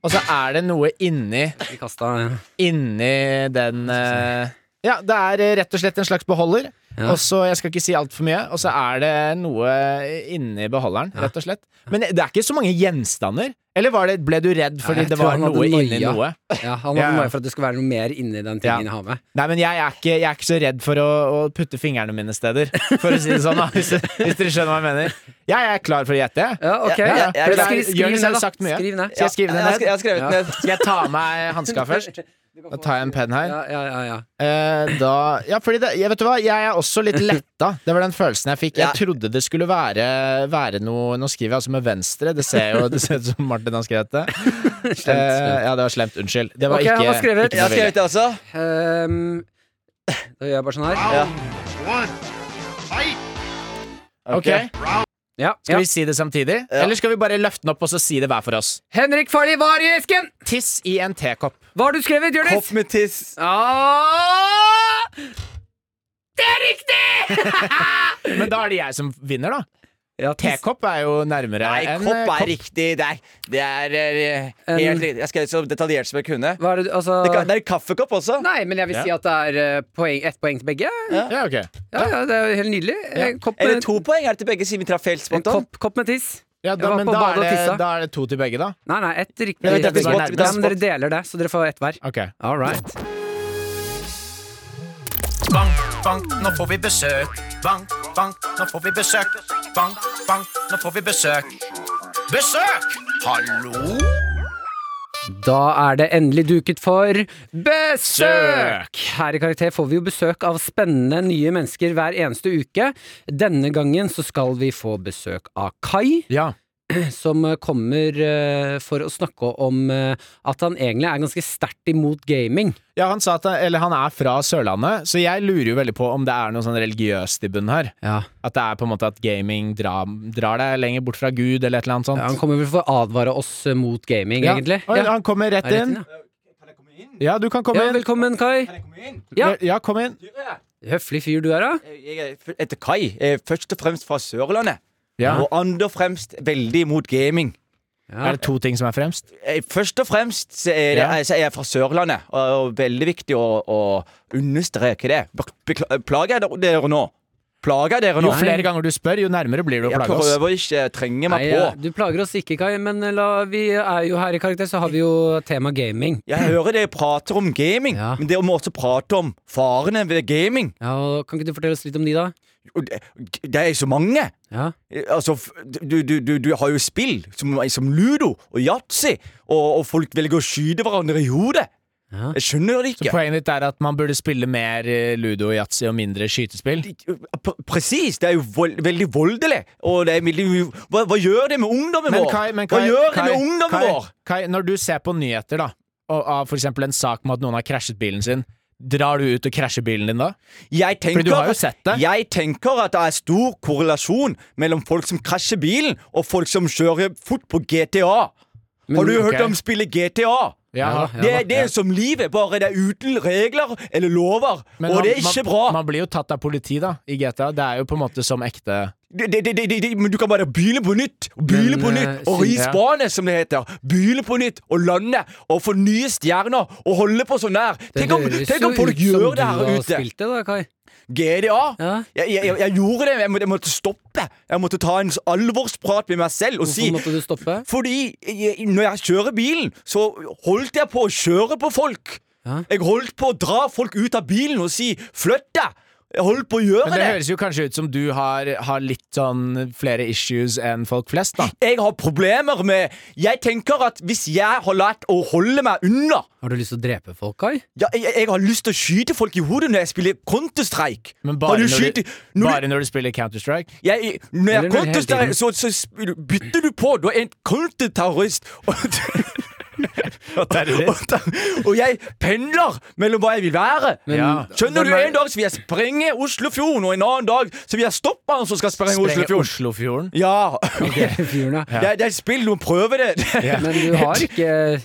og så er det noe inni
Vi kasta ja.
inni den eh, Ja, det er eh, rett og slett en slags beholder.
Ja.
Og så, Jeg skal ikke si altfor mye. Og så er det noe inni beholderen, rett og slett. Men det er ikke så mange gjenstander. Eller var det, ble du redd fordi
jeg
det
tror
var
han hadde
noe inni
noia.
noe?
Ja, han
Ja,
var
ja.
bare for at det skulle være noe mer inni den
Ja.
tingen jeg har med.
Nei, men jeg er ikke, jeg er ikke så redd for å, å putte fingrene mine steder, for å si det sånn, da, hvis, hvis dere skjønner hva jeg mener. Jeg er klar for å gjette. jeg.
Ja, ok.
Ja, ja, ja.
For det er-
Skriv- skriv
Jonis har
ned, da.
sagt mye.
Skriv ned.
Ja.
Skal jeg skrive det
Jeg har sk-
ned?
jeg har skrevet
Ja.
ned.
Skal jeg ta av meg hanska først? Da tar jeg en penn her.
Ja, ja, ja, ja.
Eh, da, ja, fordi det, jeg, vet du hva, jeg er også litt letta. Det var den følelsen jeg fikk. Jeg
Ja.
trodde det skulle være, være noe Nå skriver jeg altså med venstre, det ser jo det ser ut som Martin har skrevet det.
Slemt,
Eh,
slemt.
ja, det var slemt. Unnskyld. Det var
Ok, han
ikke,
har skrevet.
ikke
Jeg
noe
har skrevet det også.
Ehm, da gjør jeg bare sånn her.
Ja.
vilje. Ok,
Ja,
Skal
ja.
vi si det samtidig? Eller skal vi bare løfte den opp og så si det hver for oss?
Henrik Farli var i esken!
Tiss i en tekopp.
Hva har du skrevet,
Kopp
Jonis?
med tiss.
Ah! Det er riktig!
Men da er det jeg som vinner, da.
Ja, tiss.
Tekopp er jo nærmere
Nei,
enn
kopp
eh,
er riktig. Det er, det er eh,
En-
helt riktig. Jeg skrev så detaljert som jeg kunne.
Hva er det, du-
Det, kan,
altså
det er kaffekopp også.
Nei, men jeg vil si at det er eh, poeng, ett poeng til begge.
Ja, ok.
Ja, ja, Det er jo helt nydelig. En kopp
Eller
med,
to poeng er det til begge siden vi traff helt
en
spontant.
kopp, kopp med tiss.
Ja,
Jeg
da,
var
men
på
da
badet
er,
og
det,
tissa.
da er det to til begge, da.
Nei, nei, ett riktig.
Ja, vi tar
begge.
spot, vi tar
Ja, men dere
spot.
deler det, så dere får ett hver.
Ok.
All right.
Bank, bank, nå får vi besøk. Bank, bank, nå får vi besøk. Bank, bank, nå får vi besøk. Besøk! Hallo?
Da er det endelig duket for besøk! Her i Karakter får vi jo besøk av spennende nye mennesker hver eneste uke. Denne gangen så skal vi få besøk av Kai,
Ja.
som eh, kommer eh, for å snakke om eh, at han egentlig er ganske sterkt imot gaming.
Ja, han sa at eller han er fra Sørlandet, så jeg lurer jo veldig på om det er noe sånn religiøst i bunnen her.
Ja,
At det er på en måte at gaming drar, drar deg lenger bort fra Gud, eller et eller annet sånt.
Han kommer vel for å advare oss eh, mot gaming,
Ja.
egentlig.
Oi, Han kommer rett
Er det
inn.
rett inn,
Ja, du kan komme
ja,
inn.
velkommen, Kai. Ja.
Ja. ja, kom inn.
Høflig fyr du er, da.
Eh, Jeg er f- etter Kai. Jeg er først og fremst fra Sørlandet.
Ja.
Og andre og fremst veldig imot gaming.
Ja.
Er det to ting som er fremst?
Eh, Først og fremst så er, det, eh,
Ja.
så er jeg fra Sørlandet, og, og veldig viktig å, å understreke det. Bek- bekla- Plager jeg dere nå? Plager jeg dere
Jo
nå?
flere ganger du spør, jo nærmere blir du å
Jeg
plage oss.
prøver å ikke trenge meg
Nei,
på.
eh, du plager oss ikke, Kai, men eh, la, vi er jo her i Karakter, så har vi jo tema gaming.
Jeg hører dere prater om gaming,
Ja.
men dere må også prate om farene ved gaming.
Ja, og Kan ikke du fortelle oss litt om de, da?
Og Det det er så mange.
Ja.
Altså, f- du, du, du, du har jo spill som, som ludo og yatzy, og, og folk velger å skyte hverandre i hodet.
Ja.
Jeg skjønner det
Så
ikke.
poenget ditt er at man burde spille mer eh, ludo, yatzy og mindre skytespill?
P- Presis! Det er jo vold, veldig voldelig. Og det er veldig, hva, hva gjør det med ungdommen
Men
vår?
Kai, men Kai,
hva gjør
Kai,
det med ungdommen
Kai,
vår?
Kai, når du ser på nyheter, da, og av for eksempel en sak med at noen har krasjet bilen sin, drar du ut og krasjer bilen din da?
Jeg tenker,
du har jo sett det.
Jeg tenker at det er stor korrelasjon mellom folk som krasjer bilen, og folk som kjører fort på GTA. har du
ok.
hørt om spillet GTA?
Ja,
det, er- det er som livet, bare det er uten regler eller lover. og det er ikke
man,
bra.
Man blir jo tatt av politi, da, i GTA. Det er jo på en måte som ekte
det, det, det, det, det, men du kan bare byle på nytt, og byle
Men,
på
eh,
nytt, og
Sindre-
risbane, som det heter. Byle på nytt, og lande, og få nye stjerner, og holde på sånn der.
Det
Tenk om,
høres
tenk om
jo
folk
ut som
gjør
du
det her
har
ute.
Spilt det da, Kai.
GDA.
Ja.
Jeg, jeg, jeg, jeg gjorde det, men jeg måtte, jeg måtte stoppe. Jeg måtte ta en s- alvorsprat med meg selv og si
Hvorfor måtte du stoppe?
Fordi jeg, når jeg kjører bilen, så holdt jeg på å kjøre på folk.
Ja.
Jeg holdt på å dra folk ut av bilen og si 'flytt deg'. Jeg holdt på å gjøre
Men det
det.
høres jo kanskje ut som du har, har litt sånn flere issues enn folk flest, da.
Jeg har problemer med Jeg tenker at hvis jeg har lært å holde meg unna
Har du lyst til å drepe folk, Kai?
ja, jeg, jeg har lyst til å skyte folk i hodet når jeg spiller Counter-Strike.
Men bare,
Har du
når,
skyte-
du,
når du-
bare når du spiller Counter-Strike?
Jeg, når
Eller
jeg
når hele
counterstreik,
tiden-
så, så sp- bytter du på. Du er en counterterrorist. Og,
terrorist.
og, ter- og jeg pendler mellom hva jeg vil være.
Men-
Ja.
Skjønner
Hvem
du,
er-
en dag så vil jeg sprenge Oslofjorden, og en annen dag så vil jeg stoppe han som skal sprenge
Sprenger
Oslofjorden.
Oslofjorden?
Ja.
Fyren, ja.
Det, er- det er et spill, du må prøve det.
Men du har ikke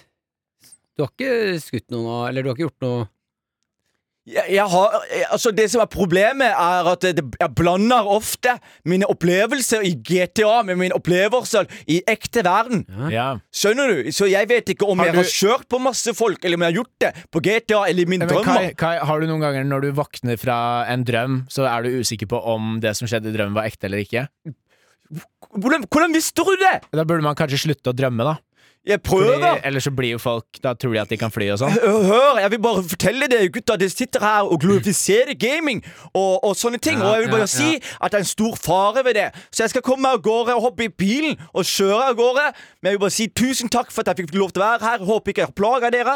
Du har ikke skutt noen, nå, eller du har ikke gjort noe
Jeg, jeg har, jeg, altså det som er problemet, er at det, jeg blander ofte mine opplevelser i GTA med mine opplevelser i ekte verden.
Ja.
Skjønner du? Så jeg vet ikke om
Har
jeg
du-
har kjørt på masse folk, eller om jeg har gjort det på GTA eller i mine
Men
drømmer.
Kai, Kai, har du noen ganger når du våkner fra en drøm, så er du usikker på om det som skjedde i drømmen var ekte eller ikke?
Hvordan, hvordan visste du det?!
Da burde man kanskje slutte å drømme, da.
Jeg
Fordi,
prøver!
ellers så blir jo folk Da tror de at de kan fly og sånn.
Hør, jeg vil bare fortelle dere gutta Dere sitter her og glorifiserer gaming og, og sånne ting. og jeg vil bare si at det er en stor fare ved det. Så jeg skal komme meg av gårde og hoppe i bilen og kjøre av gårde. Men jeg vil bare si tusen takk for at jeg fikk lov til å være her. Håper ikke jeg plager dere.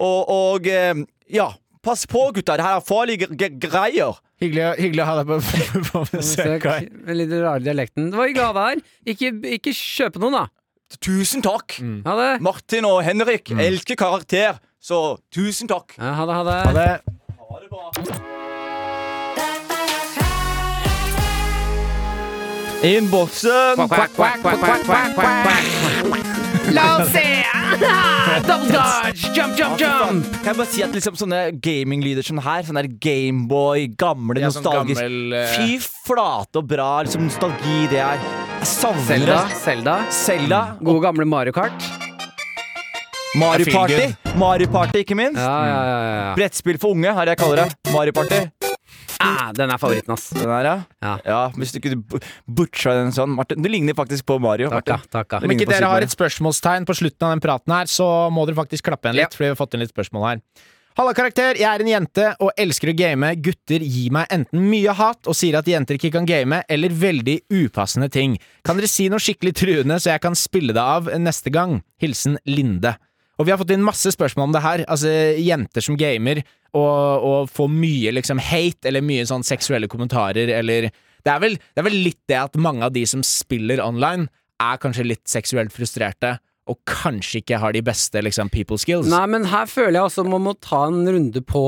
Og, og eh, ja. Pass på, gutta. Det her er farlige g g greier.
Hyggelig, å- hyggelig å ha deg på, på besøk. Kai.
Søk. Med litt rare dialekten. Det var hyggelig å ha deg her. Ikke, ikke kjøpe noen, da.
Tusen takk.
Mm.
Ha det.
Martin og Henrik elsker karakter, så tusen takk.
Ja, ha det, ha det.
Ha det.
Innboksen.
La oss se! Double dodge! Jump, jump, jump!
Kan jeg bare si at liksom sånne gaminglyder som her, sånn der Gameboy, gamle,
Ja, sånn
nostalgisk
gammel, eh,
Fy flate og bra liksom nostalgi det er. Jeg savner
Selda.
det.
Selda.
Zelda.
Gode gamle Mario Kart.
Mm.
Mario
Feel
Party. Mario Party, ikke minst.
Ja, ja, ja, ja, ja.
Brettspill for unge, har jeg kaller det. Mario Party.
Ah, den er favoritten, ass.
Den her, ja.
Ja.
Hvis du ikke bu- butcha den sånn, Martin. Du ligner faktisk på Mario.
Takka,
Martin.
takka.
Om ikke
ligner på
dere har
Sigmund.
et spørsmålstegn på slutten av den praten her, så må dere faktisk klappe igjen litt, fordi vi har fått inn litt spørsmål her. Halla, karakter. Jeg er en jente og elsker å game. Gutter gir meg enten mye hat og sier at jenter ikke kan game, eller veldig upassende ting. Kan dere si noe skikkelig truende, så jeg kan spille det av neste gang? Hilsen Linde. Og vi har fått inn masse spørsmål om det her. Altså, jenter som gamer, og, og får mye liksom hate, eller mye sånn seksuelle kommentarer, eller det er, vel, det er vel litt det at mange av de som spiller online, er kanskje litt seksuelt frustrerte, og kanskje ikke har de beste liksom, people skills.
Nei, men her føler jeg også man må ta en runde på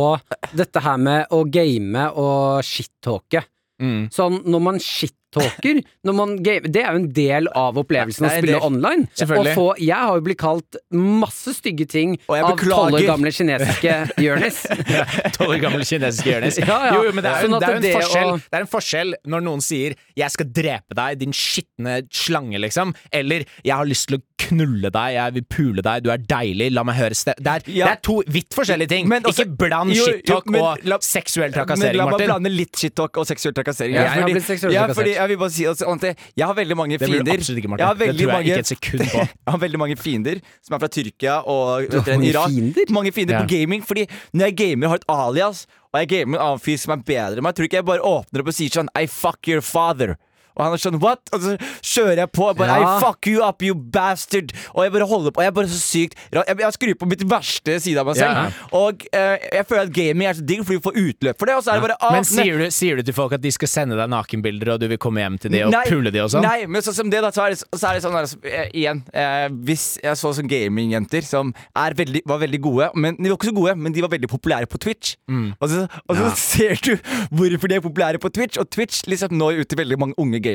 dette her med å game og shit-talke.
Mm.
Sånn, når man shit-talker når man game, Det er jo en del av opplevelsen å
Det er en
spille
del.
online.
Selvfølgelig.
Og få, jeg har jo blitt kalt masse stygge ting
Og jeg
av
beklager.
tolv år gamle kinesiske Jonis.
Tolv år gammel kinesisk Jonis.
Ja, ja.
Jo, jo, men det er, jo-
Sånn at
det, er jo en
det å-
forskjell, det er en forskjell når noen sier 'jeg skal drepe deg, din skitne slange', liksom, eller 'jeg har lyst til å knulle deg, jeg vil pule deg, du er deilig, la meg høre ste Det er,
Ja.
det er to vidt forskjellige ting.
Men også-
ikke bland
Jo, jo,
shit-talk
men
og
la-
seksuell
Men
trakassering,
la meg
Martin.
blande litt shit-talk og seksuell trakassering.
Ja, jeg har blitt seksuelt
ja,
trakassert.
fordi jeg vil bare si altså, Ante, Jeg har veldig mange
Det blir du
fiender.
absolutt ikke, Martin.
Jeg har
Det
veldig
tror jeg
mange-
ikke et sekund på.
Jeg har veldig mange fiender som er fra Tyrkia og
Du har
vet dere,
mange
Irak.
fiender?
Mange fiender på
Ja.
gaming. Fordi når jeg gamer, har jeg et alias, og jeg gamer med en annen fyr som er bedre enn meg, tror du ikke jeg bare åpner opp og sier sånn I fuck your father. Og han er sånn what? Og så kjører jeg på. Jeg bare,
Ja.
I fuck you up, you bastard. Og jeg bare holder på. Og jeg er bare så sykt ra- Jeg, jeg skrur på mitt verste side av meg selv.
Ja.
Og eh, jeg føler at gaming er så digg, fordi du får utløp for det. Og så er det bare ah,
Men
nei.
sier du, sier du til folk at de skal sende deg nakenbilder, og du vil komme hjem til de og
Nei,
pule de og sånn?
Nei, men sånn som det, da, så er det, så er det sånn der, så, eh, Igjen, eh, hvis jeg så sånne gamingjenter som er veldig, var veldig gode men, De var ikke så gode, men de var veldig populære på Twitch.
Mm.
Og så, og så ser du hvorfor de er populære på Twitch, og Twitch liksom når ut til veldig mange unge gamere.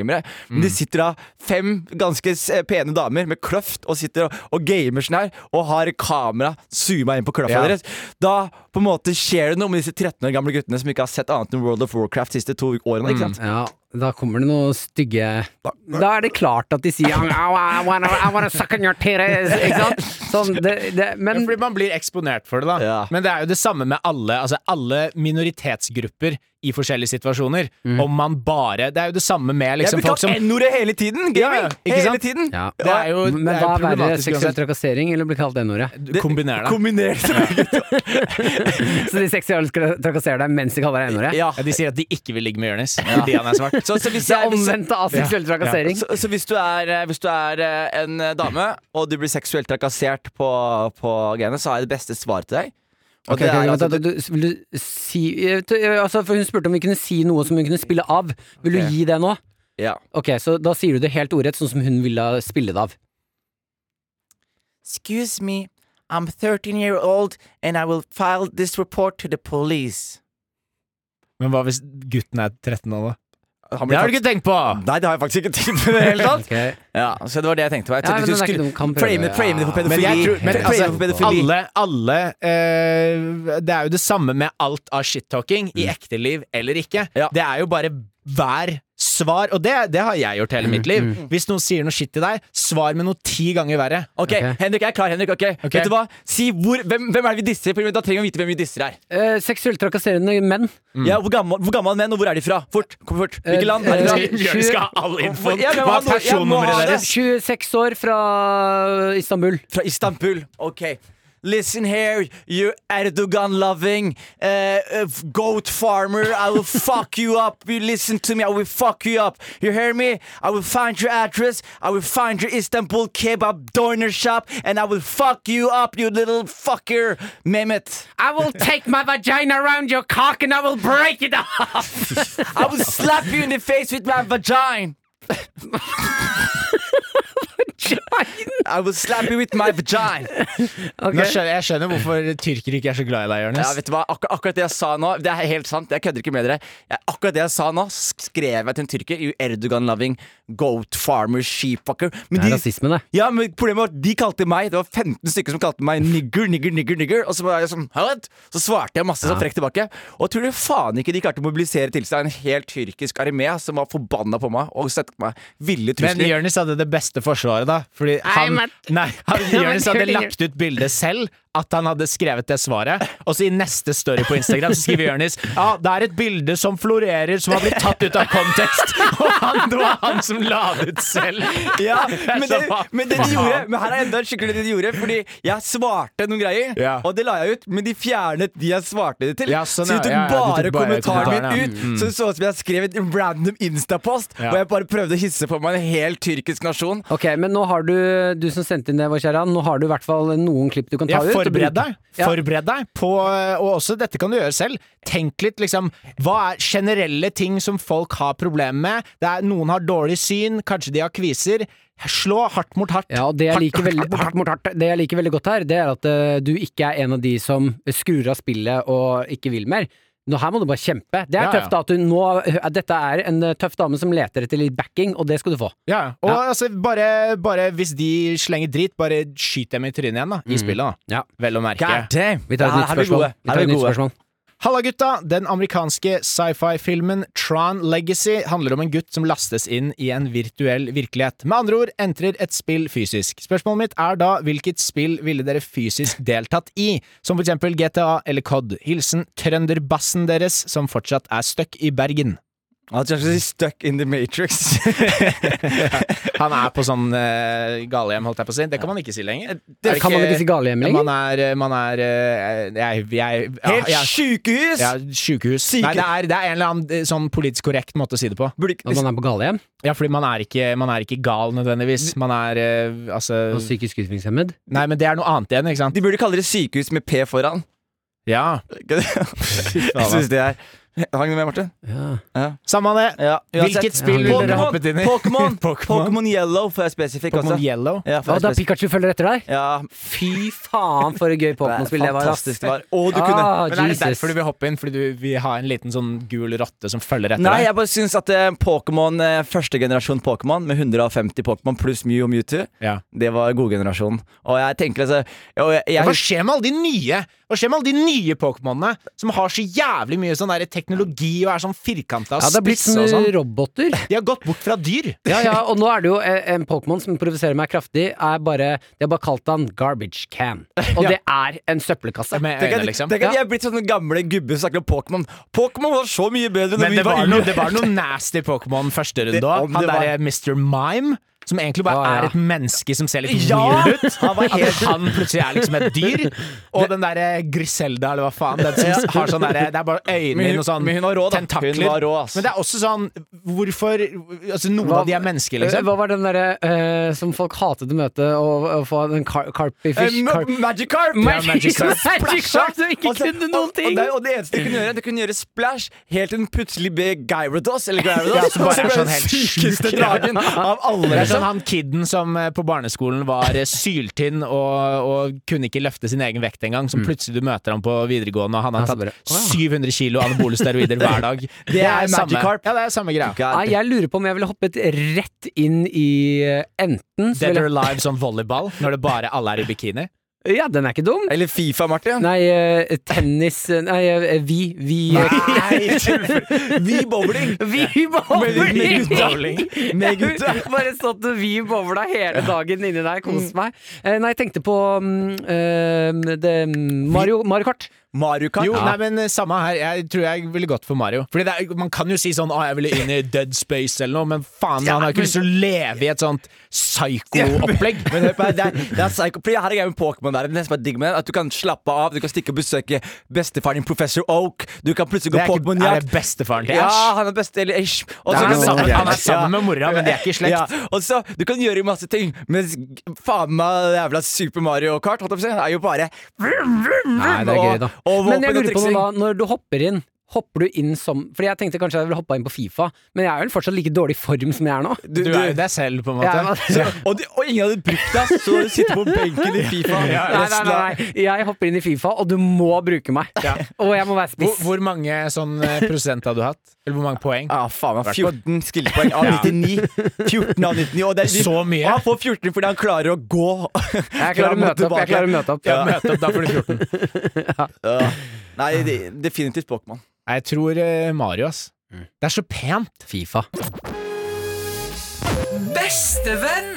Mm.
Men de sitter da fem ganske s- eh, pene damer med kløft og sitter og, og gamer sånn her, og har kamera zooma inn på kløfta
Ja.
deres. Da på en måte skjer det noe med disse 13 år gamle guttene som ikke har sett annet enn World of Warcraft de siste to årene. ikke sant?
Ja, da kommer det noe stygge Da er det klart at de sier «Ow, I wanna, I wanna suck on your titties», Ikke sant? Sånn, det, det, men
Fordi man blir eksponert for det, da.
Ja.
Men det er jo det samme med alle, altså alle minoritetsgrupper i forskjellige situasjoner. Om man bare Det er jo det samme med liksom,
Mm. jeg bruker
folk som
N-ordet hele tiden!
Ja, ja,
Gaming!
ikke
hele
sant?
tiden!
ja.
Det er jo,
Men
det er jo
hva er verre?
problematisk
Seksuell
uansett.
trakassering eller bli kalt n-ordet?
Kombiner det.
Kombinert
Så de seksuelt skal trakassere deg mens de kaller deg n-ordet?
Ja.
Ja, de sier at de ikke vil ligge med Jonis fordi han er svart.
Så, så, hvis
Det
jeg,
er
hvis,
omvendt av seksuell trakassering.
så, så hvis du er, eh, hvis du er eh, en eh, dame, og du blir seksuelt trakassert på, på gamet, så har jeg det beste svaret til deg. Og
Ok,
det
ok,
er altså
vent
at
da, du, du- vil du si eh, t- eh, altså, for Hun spurte om vi kunne si noe som hun kunne spille av. Vil
Ok.
du gi det nå?
ja.
Ok, så Da sier du det helt ordrett, sånn som hun ville spille det av.
Excuse me, I'm 13 year old, and I will file this report to the police.
Men hva hvis gutten er 13 år, da? Det
Han blir
har du
faktisk-
ikke tenkt på!
Nei, det har jeg faktisk ikke tenkt på i det hele tatt.
Ok.
Ja, så det var det jeg tenkte på. Jeg
Ja,
tenkte
men det
du
er ikke
skulle
noe man kan prøve,
frame, frame det for
ja.
pedofili.
Men, jeg tror, men
Frame det for
altså,
pedofili.
alle, alle eh, Det er jo det Mm. samme med alt av shit-talking, i ekte liv eller ikke.
Ja.
Det er jo bare hver svar, og det, det har jeg gjort hele mitt liv. Hvis noen sier noe shit til deg, svar med noe ti ganger verre. Eh,
Ok, Henrik jeg er klar. Henrik, ok Vet du hva? Si hvor, hvem, hvem er det vi disser? for Da trenger vi vite hvem vi disser her.
Eh, seksuelt trakasserende menn.
Ja, hvor gammel, hvor gammel er menn, og hvor er de fra? Fort! kom fort Hvilket land? Er de fra?
Eh,
Jørgen skal ha all infoen.
Jeg
Hva er
må ha noe- jeg må ha
personnummeret
det.
deres?
26 år fra Istanbul.
Fra Istanbul. Ok. Listen here, you Erdogan-loving uh, uh, goat farmer. I will fuck you up. You listen to me, I will fuck you up. You hear me? I will find your address. I will find your Istanbul kebab diner shop. And I will fuck you up, you little fucker. Mehmet.
I will take my vagina around your cock and I will break it off!
I will slap you in the face with my vagina. I will slap you with my vagina.
Nå skjønner, jeg skjønner hvorfor tyrkere ikke er så glad i deg,
Ja,
Jonis.
vet du hva? Akkur akkurat det jeg sa nå, det er helt sant. Jeg kødder ikke med dere. Jeg, akkurat det jeg sa nå, sk- skrev jeg til en tyrker. You Erdogan-loving goat farmer sheepfucker. Men
Det er rasisme, det.
Ja, men problemet var at de kalte meg Det var 15 stykker som kalte meg nigger, nigger, nigger. nigger Og så var jeg sånn What? Så svarte jeg masse sånn frekt tilbake. Og tror du faen ikke de klarte å mobilisere til seg en helt tyrkisk armé som var forbanna på meg og sendte meg ville
Men
trusler.
Jonis hadde det beste forsvaret, da. Fordi han, nei, han, Jonis hadde lagt ut bildet selv, at han hadde skrevet det svaret. Og så i neste story på Instagram så skriver Jonis ja, det er et bilde som florerer, som har blitt tatt ut av kontekst. Og han, det var han som la det ut selv.
Ja,
Det er
men
så
det,
faen.
men det de gjorde Men her er enda en skikkelig det de gjorde Fordi jeg svarte noen greier
Ja.
Og det la jeg ut Men de fjernet de jeg svarte det til
Ja, sånn,
Så de
ja,
tok
ja, ja, de
bare
tok bare
kommentaren
kommentaren, ja.
min ut Så det så ut som jeg skrev en random Insta-post
Ja.
Hvor jeg bare prøvde å hisse på meg en helt tyrkisk nasjon
Ok, men nå har du, du som sendte inn det, vår kjære, nå har du i hvert fall noen klipp du kan ta
Ja,
ut. og bruke.
forbered deg.
Ja.
Forbered deg på Og også, dette kan du gjøre selv. Tenk litt, liksom. Hva er generelle ting som folk har problemer med? Det er, noen har dårlig syn, kanskje de har kviser. Slå hardt mot hardt.
Ja, og det jeg,
Hardt,
liker
hardt,
veldig,
hardt mot hardt.
hardt mot hardt, det jeg liker veldig godt her, det er at eh, du ikke er en av de som skrur av spillet og ikke vil mer. Nå her må du bare kjempe. Det er
Ja, ja.
tøft da, at du nå, eh, dette er en eh, tøff dame som leter etter litt backing, og det skal du få.
Ja, ja. og altså, bare, bare hvis de slenger drit, bare skyt dem i trynet igjen, da. I spillet, da.
Ja.
Vel å merke.
Mm. God damn
Vi tar et
Her-
nytt
her er vi
spørsmål.
gode.
Vi
Her
tar et
er vi
nytt
gode
spørsmål.
Halla gutta! Den amerikanske sci-fi-filmen Tron Legacy handler om en gutt som lastes inn i en virtuell virkelighet. Med andre ord entrer et spill fysisk. Spørsmålet mitt er da hvilket spill ville dere fysisk deltatt i? Som for eksempel GTA eller COD. Hilsen trønderbassen deres som fortsatt er stuck i Bergen.
Han skal si stuck in the matrix
Han er på sånn eh, galehjem, holdt jeg på å si. Det kan man ikke si lenger.
Det kan man ikke si galehjem lenger?
Man er, man er eh, Jeg, jeg,
Helt
jeg,
sykehus
ja, sjukehus.
Syke-
Nei, det er, det er en eller annen eh, sånn politisk korrekt måte å si det på.
Burde ikke-
Når man er på galehjem?
Ja, fordi man er ikke, man er ikke gal nødvendigvis. Man er eh, altså
Og psykisk utviklingshemmed?
Nei, men det er noe annet igjen, ikke sant?
De burde kalle det sykehus med P foran
Ja.
Jeg synes det er Hang med Martin
Ja.
Samme av det.
Ja, uansett.
Hvilket spill
Ja,
ville dere
Pokémon!
hoppet inn i?
Pokémon!
Pokémon.
Pokémon Yellow, for jeg er spesifikk også.
Pokémon Yellow.
Ja, for
Og
jeg er
da
spesif-
Pikachu følger etter deg?
ja,
Fy faen, for et gøy Pokémon-spill det var. ass.
fantastisk det var. Og du kunne
Ah,
Men er det
Jesus.
derfor du vil hoppe inn? Fordi du vil ha en liten sånn gul rotte som følger etter
Nei,
deg?
jeg bare syns at eh, Pokémon, eh, første generasjon Pokémon, med 150 Pokémon pluss Mew og Mewtwo,
Ja.
det var godgenerasjonen. Og jeg tenker altså og jeg,
Hva
jeg,
skjer med alle de nye Hva skjer med alle de nye Pokémonene som har så jævlig mye sånn der teknologi og er sånn firkanta og
Ja, det har blitt
spisse og
sånn
sånn?
roboter.
De har gått bort fra dyr.
Ja, ja, og nå er det jo eh, en Pokémon som provoserer meg kraftig, er bare De har bare kalt han Garbage Can. Og det er en søppelkasse.
Med
tenk
øynene,
at,
liksom.
tenk at
Ja.
jeg er blitt sånne gamle gubber som snakker om Pokémon. Pokémon var så mye bedre når
Men
vi
det var,
var
noe,
yngre.
det var noe nasty Pokémon første runde
Det-
òg.
om
Han
det var-
derre Mr. Mime. Som egentlig bare
Ja, ja.
er et menneske som ser litt
Ja!
weird ut. Han, helt... han plutselig er liksom et dyr. Og den derre Griselda, eller hva faen. Den som har sånn derre Det er bare øyne
Men hun-
og sånn
men hun var rå, da. Hun
tentakler.
var rå, ass.
Men det er også sånn Hvorfor Altså, noen
Hva-
av de er mennesker,
Eh,
liksom.
Hva var den derre eh, som folk hatet å møte, og, og få den car carpyfish?
Eh,
Car
Ma- Magikarp!
Ja, Magikarp. Magikarp som ikke
Altså,
kunne noen
og-
ting.
Og det, og det eneste du kunne gjøre, du kunne gjøre splash helt til den plutselig ble Gyarados, eller Gyarados,
Ja, som bare
og så
er
ble
sånn
den
helt
sykeste
sjuk.
dragen av alle.
Det er
liksom.
sånn han kiden som eh, på barneskolen var eh, syltynn og, og kunne ikke løfte sin egen vekt engang, som plutselig du møter ham på videregående, og Mm. han har
Ja, så
tatt
bare, «Å, ja».
700 kilo anabole steroider hver dag. Det
er
samme-
Magikarp.
Ja, det er samme greia.
Nei, jeg lurer på om jeg ville hoppet rett inn i eh, enten så
Dead
ville
or alive som volleyball, når det bare alle er i bikini.
Ja, den er ikke dum.
Eller Fifa, Martin.
Nei, eh, tennis eh, Nei, eh, vi Vi,
Vi bowling!
vi
Med- med gutta.
bowling! Jeg
Med gutta.
Bare satt og vi bowla hele dagen inni der, kos meg. Eh, Nei, jeg tenkte på mm, eh, det, Mario, Mario Kart.
Mario Kart.
Jo,
Ja.
nei, men eh, samme her. Jeg tror jeg ville gått for Mario. Fordi det er, Man kan jo si sånn 'Å, jeg ville inn i Dead Space' eller noe, men faen, han har ikke lyst til å leve i et sånt psyko-opplegg.
Men hør på meg, det er, det er psycho. Fordi her er greia med Pokémon. der, Det som er digg med den, At du kan slappe av, du kan stikke og besøke bestefaren din, professor Oak. Du kan plutselig
Det er,
gå
ikke, er
Pokémon-jakt.
det bestefaren til
Ja,
Ash?
han er best Eller Ish. Og
Det
så
er
kan-
sammen- han er sammen med mora, men de er ikke i slekt.
Og så, Du kan gjøre masse ting, men faen meg det jævla Super Mario Kart holdt jeg på å si, er jo bare vrum, vrum,
Nei, det er
og-
gøy, da.
og våpen
Men jeg
og
lurer på noe
triksing.
da, når du hopper inn Hopper du inn som Fordi jeg tenkte kanskje jeg ville hoppa inn på Fifa, men jeg er vel fortsatt like dårlig i form som jeg er nå.
Du er jo deg selv, på en måte.
Jeg er-
og, du- og ingen hadde brukt deg, så du sitter på benken i Fifa.
Nei, nei, nei, nei. Jeg hopper inn i Fifa, og du må bruke meg. Og jeg må være
Hvor,
spiss.
hvor mange sånn eh, prosent har du hatt? Eller hvor mange poeng?
Ja, Ah, faen meg.
Hvert fall.
14 skillpoeng av 99. 14 av 99 og det er,
Så mye?
Og han får 14 fordi han klarer å gå.
Jeg klarer å møte opp. Jeg klarer å møte opp.
Ja, møte opp, da får du 14.
Ja. Nei, det- definitivt Pokémon.
Nei, Jeg tror eh, Mario, ass.
Mm.
Det er så pent.
Fifa.
Bestevenn!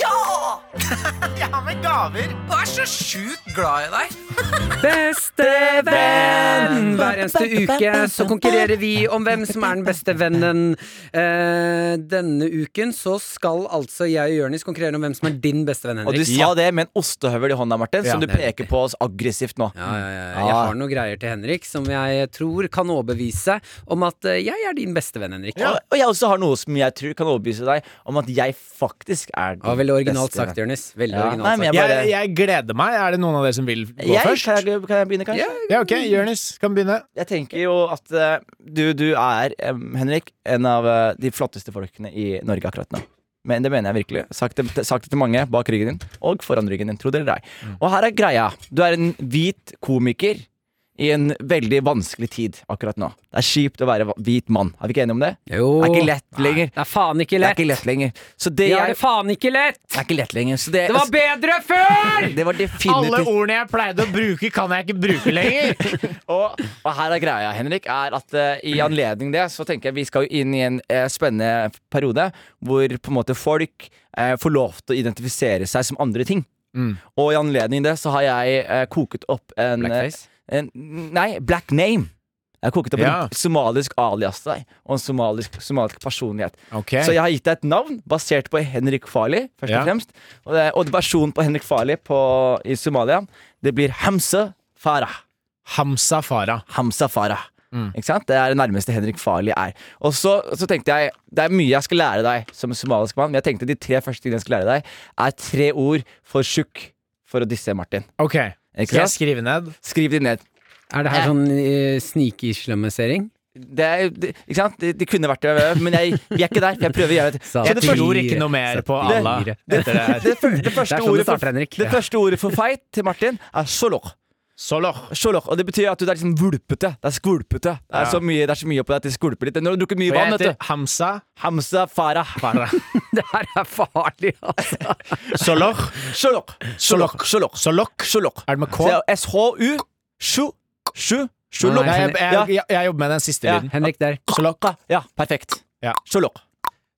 Jeg har med gaver.
Og er så sjukt glad i deg!
Bestevenn! Hver eneste uke så konkurrerer vi om hvem som er den beste vennen. Eh, denne uken så skal altså jeg og Jonis konkurrere om hvem som er din beste venn,
Og du
Henrik.
sa det med en ostehøvel i hånda, Martin, som
Ja,
du
det er
peker på oss aggressivt nå.
Ja, ja, ja. Jeg har noen greier til Henrik som jeg tror kan overbevise om at eh, jeg er din beste venn, Henrik.
Og, og jeg også har noe som jeg tror kan overbevise deg om at jeg faktisk er den
Ja, veldig originalt
beste.
sagt, Jonis. Veldig
Ja.
originalt
Nei, men
sagt.
jeg
Jeg,
bare
jeg gleder meg. Er det noen av dere som vil gå
jeg,
først?
kan, jeg, kan jeg begynne, kanskje?
Ja, ok, Jonis kan begynne.
Jeg tenker jo at eh, du, du er, em, Henrik, en av eh, de flotteste folkene i Norge akkurat nå. Men det mener jeg virkelig. Sagt det, sagt det til mange bak ryggen din, og foran ryggen din, tro det eller
Mm.
ei. Og her er greia. Du er en hvit komiker i en veldig vanskelig tid akkurat nå. Det er kjipt å være va- hvit mann. Er vi ikke enige om det?
Jo.
Det er ikke lett lenger.
Det er faen ikke
Det er
lett.
ikke lett lenger. Så det,
Vi har
jeg,
det faen ikke lett! Altså-
det er ikke lett lenger. Så det,
Det
altså,
var bedre før!
det var definitivt
ordene jeg pleide å bruke, kan jeg ikke bruke lenger.
Og, og her er greia, Henrik, er at eh, i anledning det så tenker jeg vi skal jo inn i en eh, spennende periode hvor på en måte folk eh, får lov til å identifisere seg som andre ting.
Mm.
Og i anledning det så har jeg eh, koket opp en
Blackface?
eh, En, nei, black name. Jeg har koket opp
Ja.
en somalisk alias til deg, og en somalisk, somalisk personlighet.
Ok,
Så jeg har gitt deg et navn basert på Henrik Farley, først
Ja.
og fremst. Og, det, og versjonen på Henrik Farley på, i Somalia, det blir Hamse Farah.
Hamza Farah.
Hamza Farah. Ikke sant? Det er det nærmeste Henrik Farley er. Og så, så tenkte jeg Det er mye jeg skal lære deg som somalisk mann, men jeg tenkte de tre første tingene jeg skal lære deg, er tre ord for tjukk for å disse Martin.
Ok,
Ikke
skal jeg
sant?
skrive ned?
Skriv de ned.
Er det her sånn eh, snikislamisering?
Det er, det, ikke sant? Det, det kunne vært det, men jeg, vi er ikke der. for Jeg prøver å gjøre det.
Sa
Så det,
Jeg
første,
tror ikke noe mer på
Det-
Allah etter det her.
det, fyr- det,
Det
første,
er sånn det
ordet
starter,
for,
Henrik.
det første ordet for feit til Martin er solor.
Soloch.
Solor, og Det betyr at du er liksom vulpete. Det er skvulpete. Det er,
Ja.
så, mye, det er så mye på deg at det skvulper litt. Når du drukker mye
Og jeg
vann,
heter
vet du.
Hamza
Hamza Farah.
Farah.
Det her er farlig, altså.
Soloch.
Solor. Solor. Solor.
Soloch.
Sjolok.
Er det med K?
Så det er SHU Sju Sju Sjolok.
Nei,
Jeg, jeg,
Ja.
jeg, jeg jobber med den siste
Ja.
lyden.
Henrik der.
Soloch.
Ja, perfekt.
Ja.
Sjolok.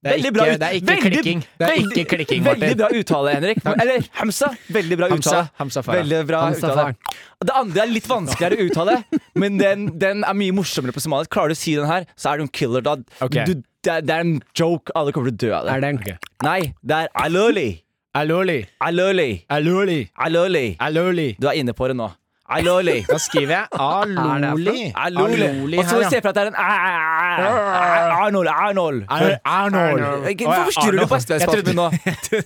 Det er
Veldig
ikke-
bra ut-
det er ikke klikking. Det er
veldig-
ikke klikking, Martin.
Veldig bra uttale, Henrik. Eller Hamza. Veldig bra
Hamza.
uttale.
Hamza Farah.
Veldig bra
Hamza
uttale. Det andre er litt vanskeligere å uttale, men den, den er mye morsommere på somalisk. Klarer du å si den her, så er du en killer. Da.
Ok.
Du, det, er, det er en joke. Alle kommer til å dø av det.
Er det en
Nei, det er aloli.
Aloli.
Aloli.
Aloli.
Aloli.
Aloli.
Du er inne på det nå. Aloli.
Da skriver jeg Aloli.
Aloli. Og så må
her,
du se for deg at det er en Arnold. Arnold.
ja. Ar- Arnold.
Ikke-
Å ja,
Hvorfor forstyrrer du
Arnold.
på SV-spalten
Jeg
min nå?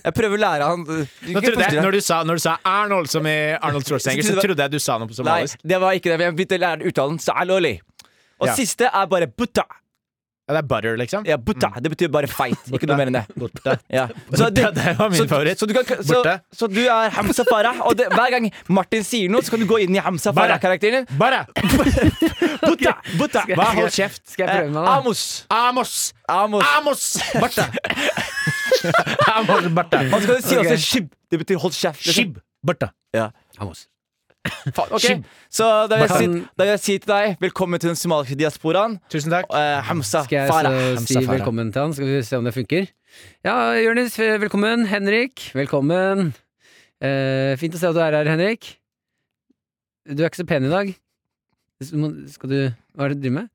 Jeg prøver å lære han
Nå
Ikke
trodde jeg,
forstyrre.
når, du sa, når du sa Arnold som i Arnold Schwarzenegger, så trodde jeg du sa noe på
Nei,
somalisk.
det var ikke det. Jeg begynte å lære den uttalen. Så aloli. Og
Ja.
siste er bare butta.
Ja, det er butter, liksom.
Ja, butta. Det betyr bare feit. Ikke noe mer enn det.
Borte.
Ja.
Butta, det var min
så,
favoritt.
Så du, kan, så,
Borte.
så du er Hamza Farah. Og det, hver gang Martin sier noe, så kan du gå inn i Hamza
Bare.
Farah-karakteren din.
Bare!
Butta! Butta!
Hva? Hold kjeft.
Skal jeg prøve meg, da?
Eh, Amos.
Amos!
Amos.
Amos! Barte! Amos Barte.
Og så kan du si
Ok.
også shib. Det betyr hold kjeft. liksom.
Shib. Borta.
Ja.
Vamos.
Faen,
Shib.
ok, Så da vil, jeg si,
Kan-
da vil jeg si til deg velkommen til den somaliske diasporaen.
Tusen takk.
Eh, Hamza
Skal jeg
Farah.
så si
Hamza Farah.
velkommen til han? Skal vi se om det funker? Ja, Jonis, eh, velkommen. Henrik, velkommen. Eh, fint å se at du er her, Henrik. Du er ikke så pen i dag. Du må- Skal du Hva er det du driver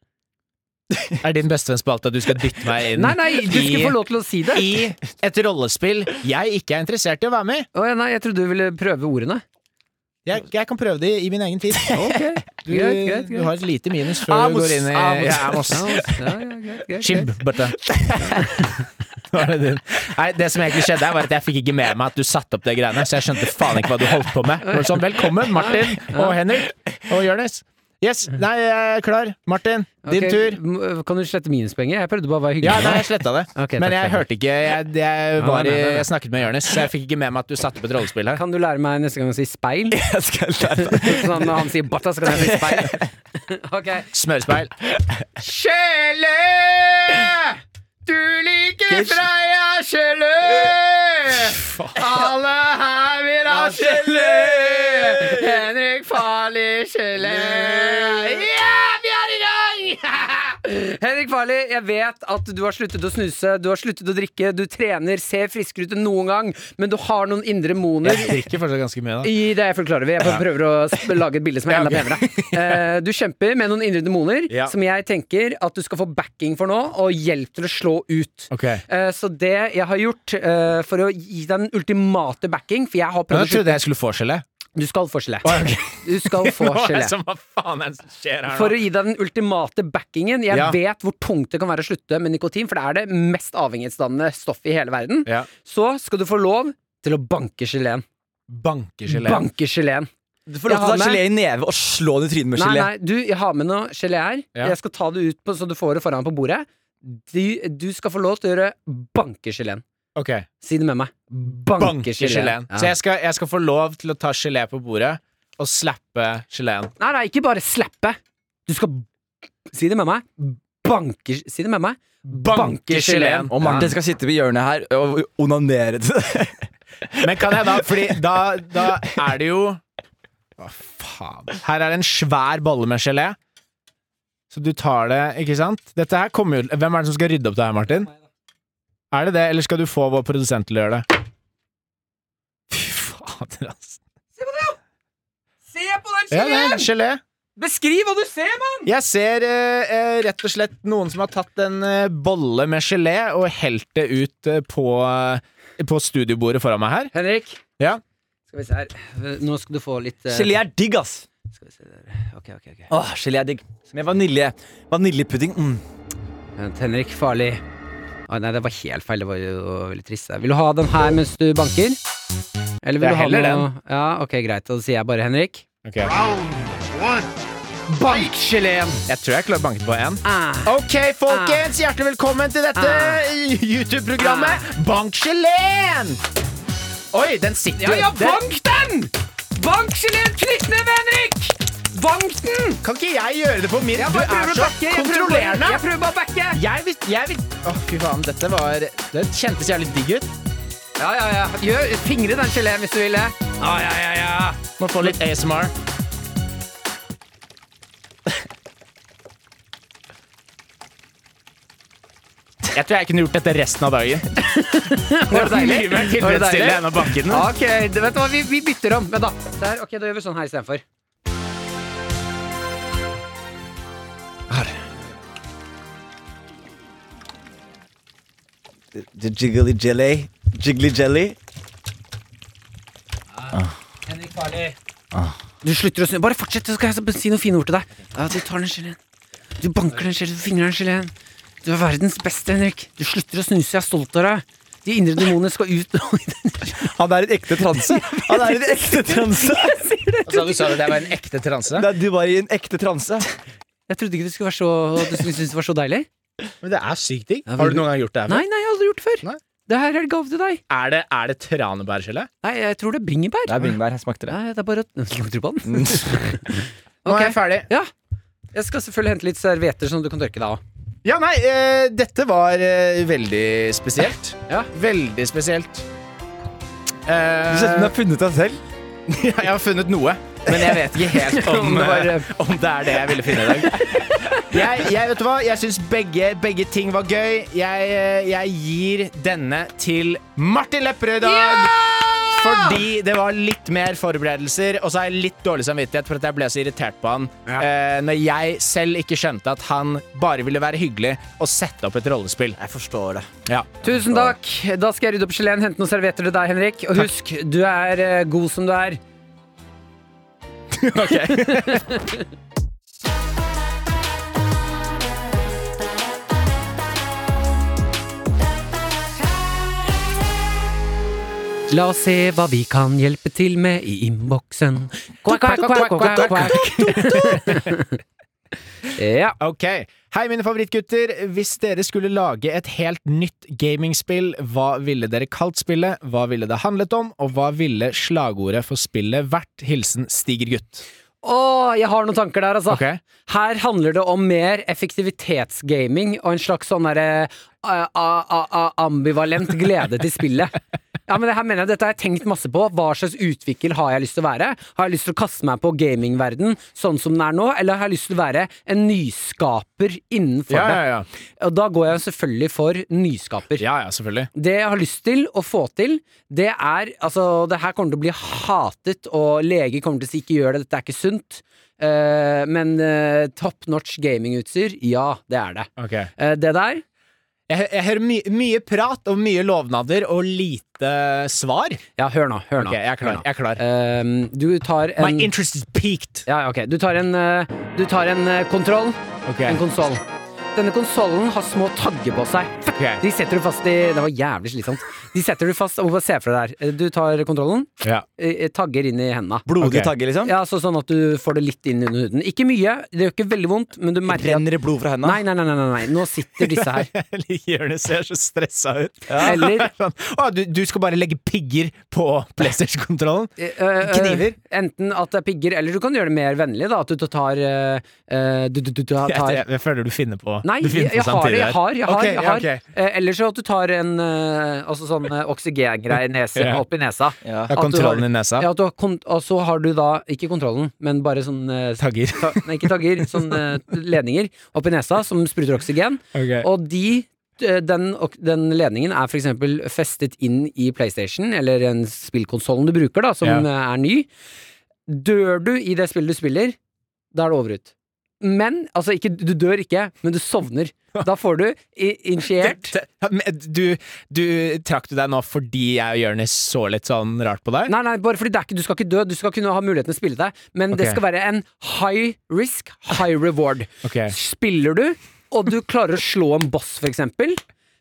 med?
Er din bestevennspalte at du skal dytte meg inn
Nei, nei, du skulle få lov til å si det!
i et rollespill jeg ikke er interessert i å være med i?
Å ja, nei, jeg trodde du ville prøve ordene.
Jeg, jeg kan prøve det i min egen tid. Du,
Greit, greit,
du
greit.
har et lite minus før du
Amos,
går inn i
Amos.
Ja, Amos.
Ja, ja, ja, greit, greit,
Skib,
greit.
Børte. Var det din? Nei, det som egentlig skjedde, her var at jeg fikk ikke med meg at du satte opp det greiene, så jeg skjønte faen ikke hva du holdt på med. Det var Sånn, velkommen, Martin og Henrik og Jonis. Yes, nei, jeg er klar. Martin, din
Ok,
tur.
m- øh, Kan du slette minuspoenget? Jeg prøvde bare å være hyggelig.
Ja, nei, jeg sletta det.
Ok,
Men
takk,
jeg
takk.
hørte ikke Jeg, jeg, var,
nei,
i-
nei, nei.
jeg snakket med Jonis, så jeg fikk ikke med meg at du satte opp et rollespill her.
Kan du lære meg neste gang å si speil?
Jeg skal lære deg.
Sånn når han sier batta, så kan jeg si speil. Ok.
Smørespeil.
Kjele! Du liker Freia Kjele! Alle her vil ha Kjele! Henrik Farli Kjele! Ja, vi er i gang! Henrik Farli, jeg vet at du har sluttet å snuse, du har sluttet å drikke, du trener, ser friskere ut enn noen gang, men du har noen indre moner.
Jeg drikker fortsatt ganske mye, da.
I det er jeg fullt klar over. Jeg bare prøver å sp- lage et bilde som er enda
Ja,
penere. Eh, du kjemper med noen indre demoner
Ja.
som jeg tenker at du skal få backing for nå, og hjelp til å slå ut.
Ok.
Eh, så det jeg har gjort eh, for å gi deg den ultimate backing For jeg har
Men
prøvd å
jeg trodde jeg skulle få gelé.
slutte- Du skal få gelé.
ok.
Du skal få
Hva er
gelé.
det som hva faen er det som skjer her nå?
For å gi deg den ultimate backingen. Jeg
Ja.
vet hvor tungt det kan være å slutte med nikotin, for det er det mest avhengighetsdannende stoffet i hele verden.
Ja.
Så skal du få lov til å banke geleen.
Bankegelé.
Banke geleen.
Du får lov til å ta
Jeg har med-
gelé i neve og slå den i trynet med
Nei,
gelé.
nei, du, jeg har med noe gelé her.
Ja.
Jeg skal ta det ut på, så du får det foran på bordet. Du, du skal få lov til å gjøre bankegeleen.
Ok.
Si det med meg.
Banke
Bankegeleen.
geleen. Så
Ja.
jeg skal, jeg skal få lov til å ta gelé på bordet og slappe geleen.
Nei, nei, ikke bare slappe. Du skal Si det med meg. Banke Si det med meg. Banke geleen.
Og Martin skal sitte ved hjørnet her og onanere til det.
Men kan jeg da Fordi da, da er det jo Å, faen. Her er det en svær bolle med gelé. Så du tar det, ikke sant? Dette her kommer jo Hvem er det som skal rydde opp det her, Martin? Er det det, eller skal du få vår produsent til å gjøre det? Fy fader, altså.
Se på den
Ja, det
geleen!
er gelé.
Beskriv hva du ser, mann!
Jeg ser eh, eh, rett og slett noen som har tatt en eh, bolle med gelé og helt det ut eh, på, eh, på studiobordet foran meg her.
Henrik.
Ja.
Skal vi se her. Nå skal du få litt eh,
Gelé er digg, ass.
Skal vi se der. Ok, ok, ok.
Åh, gelé er digg. Med vanilje. Vaniljepudding. Mm.
Vent, Henrik Farli. Å, Ah, nei, det var helt feil. Det var jo veldig trist. der. Vil du ha den her mens du banker? Eller vil
Jeg
du ha
heller
noe- Ja, ok, greit. Da sier jeg bare Henrik.
Ok.
Bank geleen!
Jeg tror jeg klarer å banke på én.
Ah.
Ok, folkens, hjertelig velkommen til dette
Ah.
YouTube-programmet Bank geleen! Oi, den sitter
Ja, ja,
den-
bank den! Bank geleen! Knytt ned, Henrik! Bank den!
Kan ikke jeg gjøre det på min? Du
Jeg bare
er
prøver å
så
backe. Jeg prøver bare-
kontrollerende!
Jeg prøver bare å backe.
Jeg vil, jeg vil Å, fy faen, dette var Det kjentes jævlig digg ut.
Ja, ja, ja. Gjør, fingre den geleen hvis du vil det.
Ja, ja, ja, ja. Må få litt ASMR. Jeg tror jeg kunne gjort dette resten av dagen.
Var det deilig?
Mye mer
Var det
tilfredsstillende enn
deilig?
å banke den.
Ok, det- vet du hva, vi, vi bytter om. Vent, da. Der, ok, Da gjør vi sånn her istedenfor.
Jiggly jelly. Jiggly jelly.
Ah.
Du slutter å snu. Bare fortsett, så skal jeg si noen fine ord til deg. Ja, du tar den geleen. Du banker den geleen, du fingrer den geleen. Du er verdens beste, Henrik. Du slutter å snuse, jeg er stolt av deg. De indre demonene skal ut nå.
Han er en ekte transe. Han er en ekte transe.
Så du sa at det var en ekte transe?
Nei, du var i en ekte transe.
Jeg trodde ikke du skulle være så, at du skulle synes det var så deilig.
Men det er sykt digg.
Ja,
Har
veldig.
du noen gang gjort det? her?
Nei, nei, jeg har aldri gjort det før.
Nei.
Det her er gave til deg.
Er det, er det tranebærgelé?
Nei, jeg tror det er bringebær. altså.
Det er bringebær. Jeg smakte det.
Nei, det er bare å lukte på den.
Nå er jeg ferdig.
Ja. Jeg skal selvfølgelig hente litt servietter som du kan tørke deg av.
Ja, nei, eh, dette var eh, veldig spesielt.
Ja.
Veldig spesielt.
Du ser ut som du har funnet deg selv. Jeg har funnet noe, men jeg vet ikke helt om, eh, om det er det jeg ville finne i dag.
Jeg, jeg vet du hva, jeg syns begge, begge ting var gøy. Jeg, eh, jeg gir denne til Martin Lepperød i dag. Fordi det var litt mer forberedelser, og så har jeg litt dårlig samvittighet for at jeg ble så irritert på han eh, når jeg selv ikke skjønte at han bare ville være hyggelig og sette opp et rollespill.
Jeg forstår det.
Ja.
Tusen takk. Da skal jeg rydde opp geleen, hente noen servietter til deg, Henrik. Og husk, du er eh, god som du er. La oss se hva vi kan hjelpe til med i innboksen. Quack, quack, quack, quack, quack, quack. Ja.
Ok. Hei, mine favorittgutter. Hvis dere skulle lage et helt nytt gamingspill, hva ville dere kalt spillet, hva ville det handlet om, og hva ville slagordet for spillet vært? Hilsen Stigergutt.
Å, jeg har noen tanker der, altså.
Ok.
Her handler det om mer effektivitetsgaming og en slags sånn derre a- a- a- a- ambivalent glede til spillet. Ja, men det her mener jeg, Dette har jeg tenkt masse på. Hva slags utvikler har jeg lyst til å være? Har jeg lyst til å kaste meg på gamingverden sånn som den er nå, eller har jeg lyst til å være en nyskaper innenfor
Ja, ja, ja.
det? Og da går jeg selvfølgelig for nyskaper.
Ja, ja, selvfølgelig.
Det jeg har lyst til å få til, det er Altså, det her kommer til å bli hatet, og leger kommer til å si ikke gjør det, dette er ikke sunt. Eh, men eh, top notch gamingutstyr, ja, det er det. Eh, det der
Jeg, jeg hører my mye prat og mye lovnader og lite svar.
Ja, hør nå, hør nå.
Ok, jeg er klar.
hør nå.
Jeg er klar.
Eh, du tar
My
en
interest is peaked.
Ja, ja, ok. Du tar en, eh, du tar en eh, kontroll.
Ok.
En konsoll. Denne konsollen har små tagger på seg.
Ok.
De setter du fast i Det var jævlig slitsomt. De setter du fast og bare se for deg der. Eh, Du tar kontrollen,
Ja.
eh, tagger inn i henda.
Blodige
Ok.
tagger, liksom?
Ja, så sånn at du får det litt inn under huden. Ikke mye, det gjør ikke veldig vondt, men du merker at
Renner det blod fra hendene?
Nei, nei, nei, nei, nei, nei. nå sitter disse her.
Hjørnet ser så stressa ut.
Eller
Sånn, Å, du, du skal bare legge pigger på PlayStation-kontrollen?
eh,
Kniver?
eh, Enten at det er pigger, eller du kan gjøre det mer vennlig, da. At du tar eh, eh, Du, du, du, du
Jeg, jeg,
tar
jeg føler du finner på
Nei,
du
jeg,
finner på
jeg har det.
samtidig
Jeg
her.
har, jeg har.
Ok,
jeg
ja,
har.
ok.
Eh, eller så at du tar en eh, altså sånn eh, oksygengreie i nese,
Ja.
opp i nesa.
Ja,
Ja.
At du
kontrollen
har-
i nesa.
Altså, Ja, at du har kon og så har du da ikke kontrollen, men bare sånn eh,
Tagger.
ta Nei, ikke tagger. Sånn eh, ledninger opp i nesa som spruter oksygen.
Ok.
Og de, eh, den, ok- den ledningen er for eksempel festet inn i PlayStation, eller en spillkonsollen du bruker, da, som
Ja.
eh, er ny. Dør du i det spillet du spiller, da er det over ut. Men, altså ikke, du dør ikke, men du sovner. Da får du i- initiert
Te- men Du, du trakk du deg nå fordi jeg og Jonis så litt sånn rart på deg?
Nei, nei, bare fordi det er ikke, du skal ikke dø, du skal kunne ha muligheten til å spille deg, men det
Ok.
skal være en high risk, high reward.
Ok.
Spiller du, og du klarer å slå en boss, for eksempel,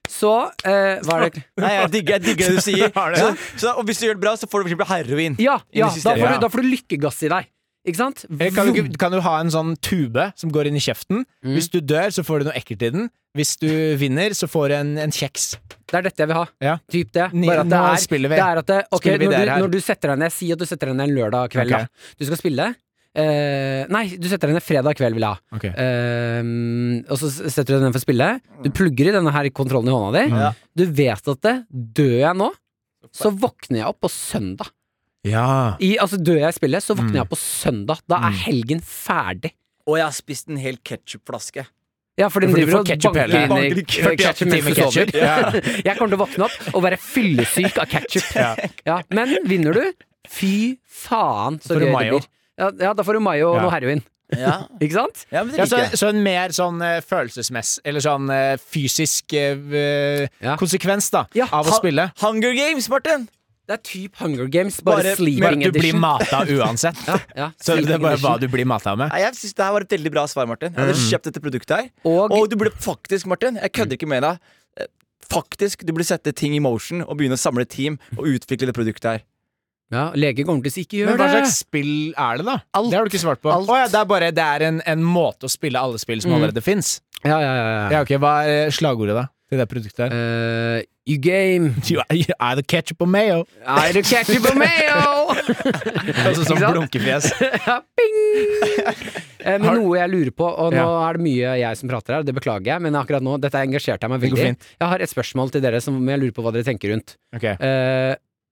så eh, Hva er det
Nei, jeg digger, jeg digger det du sier.
Har det?
Så, så, og hvis du gjør det bra, så får du for eksempel heroin.
Ja,
Inn i
ja da, får
systemet.
du,
Ja.
da får du lykkegass i deg. Ikke sant?
Eh, Kan du, ikke- kan du ha en sånn tube som går inn i kjeften?
Mm.
Hvis du dør, så får du noe ekkelt i den. Hvis du vinner, så får du en, en kjeks.
Det er dette jeg vil ha.
Ja.
Typ det.
Ni-
Bare at det
nå
er,
spiller vi.
Det er at det, ok,
Spiller vi
når,
dere
du,
her.
når du setter deg ned, si at du setter deg ned en lørdag kveld,
Ok.
da. Du skal spille. eh, nei, du setter deg ned fredag kveld, vil jeg ha.
Ok.
Eh, og så setter du deg ned for å spille. Du plugger i denne her kontrollen i hånda di.
Ja.
Du vet at det, dør jeg nå, så våkner jeg opp på søndag.
Ja.
I, altså Dør jeg i spillet, så
Mm.
våkner jeg opp på søndag. Da er helgen ferdig.
Og jeg har spist en hel ketsjupflaske.
Ja, for den
For du
driver
får
og
ketchup
banker
hele-
inn i
Banker i
ketchup,
ketchup
mens
med
du sover.
ketchup. Ja.
Jeg kommer til å våkne opp og være fyllesyk av ketchup.
Ja.
Ja, men vinner du, fy faen så
Får
gøy
du
det
mayo.
blir. Ja, ja, da får du mayo og
Ja.
noe heroin.
Ja.
Ikke sant?
ja, men det
Ja, så,
liker jeg.
så en mer sånn eh, følelsesmess Eller sånn eh, fysisk eh,
Ja.
konsekvens da
Ja.
av å
Ha-
spille.
Hunger Games, Martin!
Det er type Hunger Games, bare,
Bare-
Men
sleeping
du blir
edition.
mata uansett.
Ja,
Så det er
sleeping
bare hva
edition.
du blir mata med.
Nei, jeg synes Det her var et veldig bra svar, Martin. Jeg hadde kjøpt dette produktet her.
Mm. Og-
du burde faktisk, Martin, jeg kødder ikke med deg, eh, faktisk, du burde sette ting i motion og begynne å samle team og utvikle det produktet her.
Ja, lege kommer til å si ikke
Men
gjør
hva
det.
slags spill er det, da?
Alt.
Det har du ikke svart på.
Alt.
Å ja, det er bare det er en, en måte å spille alle spill som allerede fins.
Ja, ja, ja, ja.
Ja, ok, Hva er eh, slagordet, da? Til det produktet her.
Eh, you game.
You are- you are the ketchup og mayo.
I do ketchup and mayo!
Altså sånn
sant?
blunkefjes.
Ja, Ping! Eh, Men
Har-
noe jeg lurer på, og nå
Ja.
er det mye jeg som prater her, det beklager jeg, men akkurat nå, dette engasjerte jeg meg
Det går
veldig i.
fint.
Jeg har et spørsmål til dere som jeg lurer på hva dere tenker rundt.
Ok.
Eh,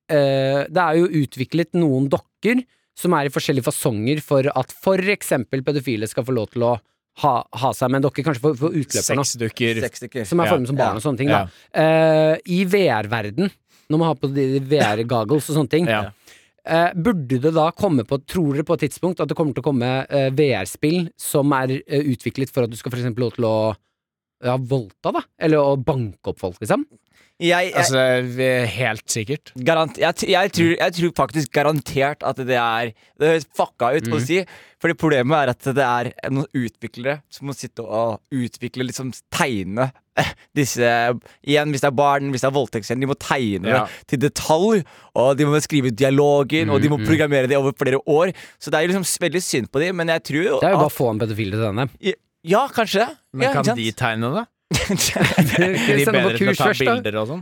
eh, Det er jo utviklet noen dokker som er i forskjellige fasonger for at for eksempel pedofile skal få lov til å ha, ha seg med en dokke, kanskje for, for utløperne.
Sexdukker.
Seks stykker.
Som er
Ja,
formet som barn og sånne ting, da.
ja.
Eh, I VR-verden, når man har på de VR-goggles og sånne ting,
Ja.
eh, burde det da komme på, tror dere på et tidspunkt, at det kommer til å komme eh, VR-spill som er eh, utviklet for at du skal for eksempel lov til å ja, voldta, da? Eller å banke opp folk, liksom?
Jeg, jeg,
Altså, vi- helt sikkert.
Garant, jeg, t- jeg, tror, jeg tror faktisk garantert at det er Det høres fucka ut
Mhm.
å si. Fordi problemet er at det er noen utviklere som må sitte og utvikle liksom tegne eh, disse Igjen, hvis det er barn, hvis det er voldtektshendelse, de må tegne
Ja.
det til detalj. Og de må skrive ut dialogen, og
Mhm,
de må programmere det over flere år. Så det er jo liksom s- veldig synd på dem, men jeg tror jo
Det er jo bare
at-
å få en pedofil til denne.
Ja, kanskje.
Men
ja,
kan de tegne det? Er
Send
de
ham
bedre
på
til å
kurs
ta
først, da.
bilder og sånn?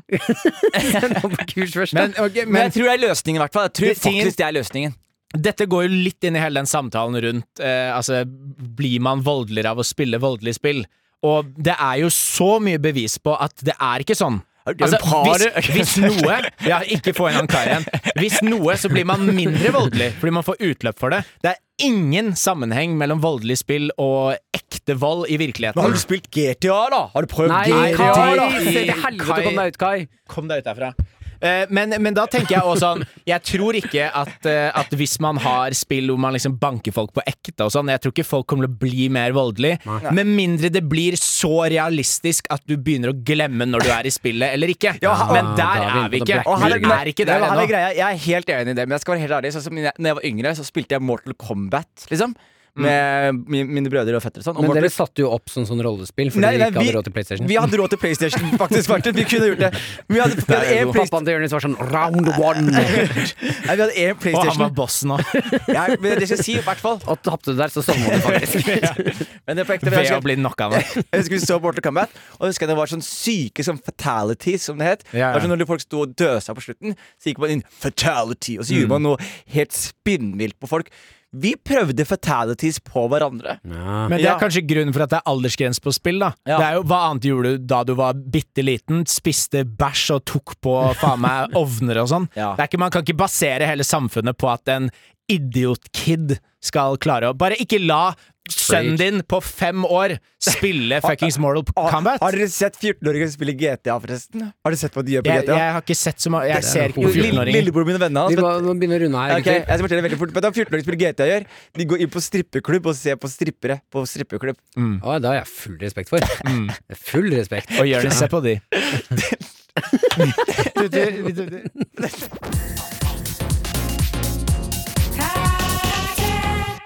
Send ham på kurs først, da.
Men, ok,
men
men
jeg tror det er løsningen, i hvert fall. Jeg tror
Det- tingen-
faktisk det er løsningen.
dette går jo litt inn i hele den samtalen rundt eh, Altså, blir man voldeligere av å spille voldelige spill? Og det er jo så mye bevis på at det er ikke sånn.
det er jo
hvis,
par-
hvis noe Ja, ikke få inn han karen. Hvis noe, så blir man mindre voldelig fordi man får utløp for det. Det er ingen sammenheng mellom voldelig spill og ekte vold i virkeligheten.
spilt GTA, da? Har du prøvd
Nei,
Nei,
Kai!
da.
Se til helvete, kom deg ut, Kai!
Kom deg ut derfra. Eh, men, men da tenker jeg også sånn Jeg tror ikke at, eh, at hvis man har spill hvor man liksom banker folk på ekte og sånn, jeg tror ikke folk kommer til å bli mer voldelig. Med mindre det blir så realistisk at du begynner å glemme når du er i spillet eller ikke.
ha-
men
da
der
er vi
er vi
inne på
ikke.
Black
Og her
Vi er ikke der
Nei, men her er
ennå.
greia. Jeg er helt enig i det, men jeg skal være helt ærlig. Sånn som når jeg var yngre, så spilte jeg Mortal Kombat, liksom. Med mi- mine brødre og fettere og sånn. Og
Men
Mortal-
dere satte jo opp sånn sånn rollespill fordi
Nei,
dere
nei,
ikke
vi-
hadde råd til PlayStation.
Vi hadde råd til PlayStation, faktisk. Martin. Vi kunne gjort det. Vi hadde, vi hadde en Play-
Pappaen til Jonis var sånn round one!
Nei, vi
Og
hadde en
han var
PlayStation.
bossen òg.
Ja, men det skal jeg si, i hvert fall.
Og tapte du der, så sovna du faktisk.
Men det er på ekte. men
Ved
Jeg
å bli knocka nå.
Jeg husker vi så Mortal Kombat, og jeg husker det var sånn syke sånn fatalities, som det het.
Ja, ja.
Det var sånn Når folk sto og døsa på slutten, så gikk man inn fatality, og så
Mm.
gjorde man noe helt spinnvilt på folk. Vi prøvde fatalities på hverandre.
Men det er
Ja.
kanskje grunnen for at det er aldersgrense på spill, da.
Ja.
Det er jo Hva annet gjorde du da du var bitte liten? Spiste bæsj og tok på faen meg ovner og sånn?
Ja.
Det er ikke, man kan ikke basere hele samfunnet på at en idiotkid skal klare å Bare ikke la sønnen din på fem år spille fuckings Mortal Kombat.
Har dere sett 14-åringer spille GTA, forresten? Har dere sett hva de gjør på
Jeg,
GTA?
jeg har ikke sett så mye Jeg ser ikke
Jo,
på
lille-
14-åringer.
Lillebror min og vennene hans
Vi
vet-
må, må begynne å runde her.
Ok, jeg
egentlig.
skal fortelle det veldig fort Men da 14-åringer spiller GTA gjør De går inn på strippeklubb og ser på strippere På strippeklubb
Å, det har jeg full respekt for.
Mm.
Full respekt.
Og Jonis, se på de.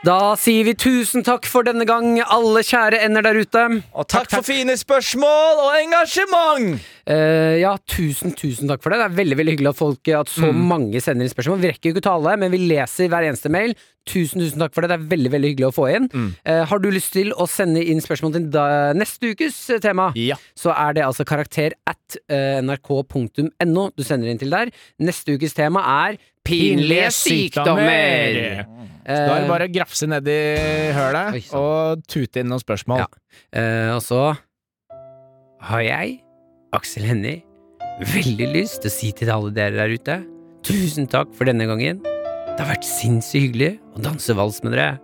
Da sier vi tusen takk for denne gang, alle kjære ender der ute.
Og takk, for fine spørsmål og engasjement
Eh, ja, tusen, tusen takk for det. Det er veldig veldig hyggelig at, folk, at så
Mm.
mange sender inn spørsmål. Vi rekker jo ikke å ta alle, men vi leser hver eneste mail. Tusen, tusen takk for det. Det er veldig veldig hyggelig å få inn.
Mm.
Eh, har du lyst til å sende inn spørsmål til da, neste ukes eh, tema?
Ja.
så er det altså karakter at eh, nrk.no du sender inn til der. Neste ukes tema er pinlige sykdommer.
Da er
Eh,
det bare å grafse ned i
Oi,
hølet
sant.
og tute inn noen spørsmål.
Ja. eh, og så har jeg, Aksel Hennie, veldig lyst til å si til alle dere der ute tusen takk for denne gangen. Det har vært sinnssykt hyggelig å danse vals med dere.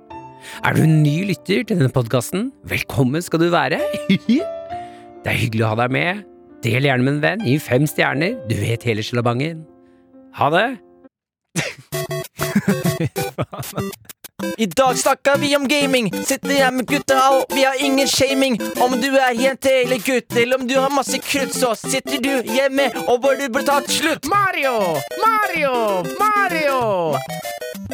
Er du en ny lytter til denne podkasten? Velkommen skal du være. det er hyggelig å ha deg med. Del gjerne med en venn. Gi fem stjerner. Du vet hele sjalabangen. Ha det!
I dag snakker vi om gaming Sitter her med gutta og vi har ingen shaming Om du er jente eller gutt Eller om du har masse krutt Så sitter du hjemme og hvor du burde ta et slutt
Mario! Mario! Mario!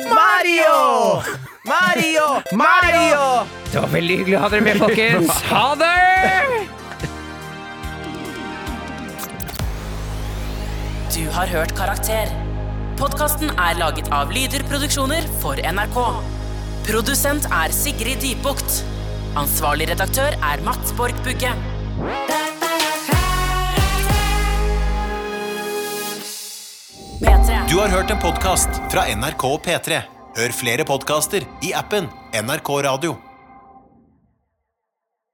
Mario! Mario! Mario!
Det var veldig hyggelig å ha dere med, folkens. Ha det!
Du har hørt Karakter. Podkasten er laget av Lyder Produksjoner for NRK. Produsent er Sigrid Dybukt. Ansvarlig redaktør er Mats Borg Bugge. P3.
Du har hørt en podcast fra NRK P3. Hør flere podcaster i appen NRK Radio.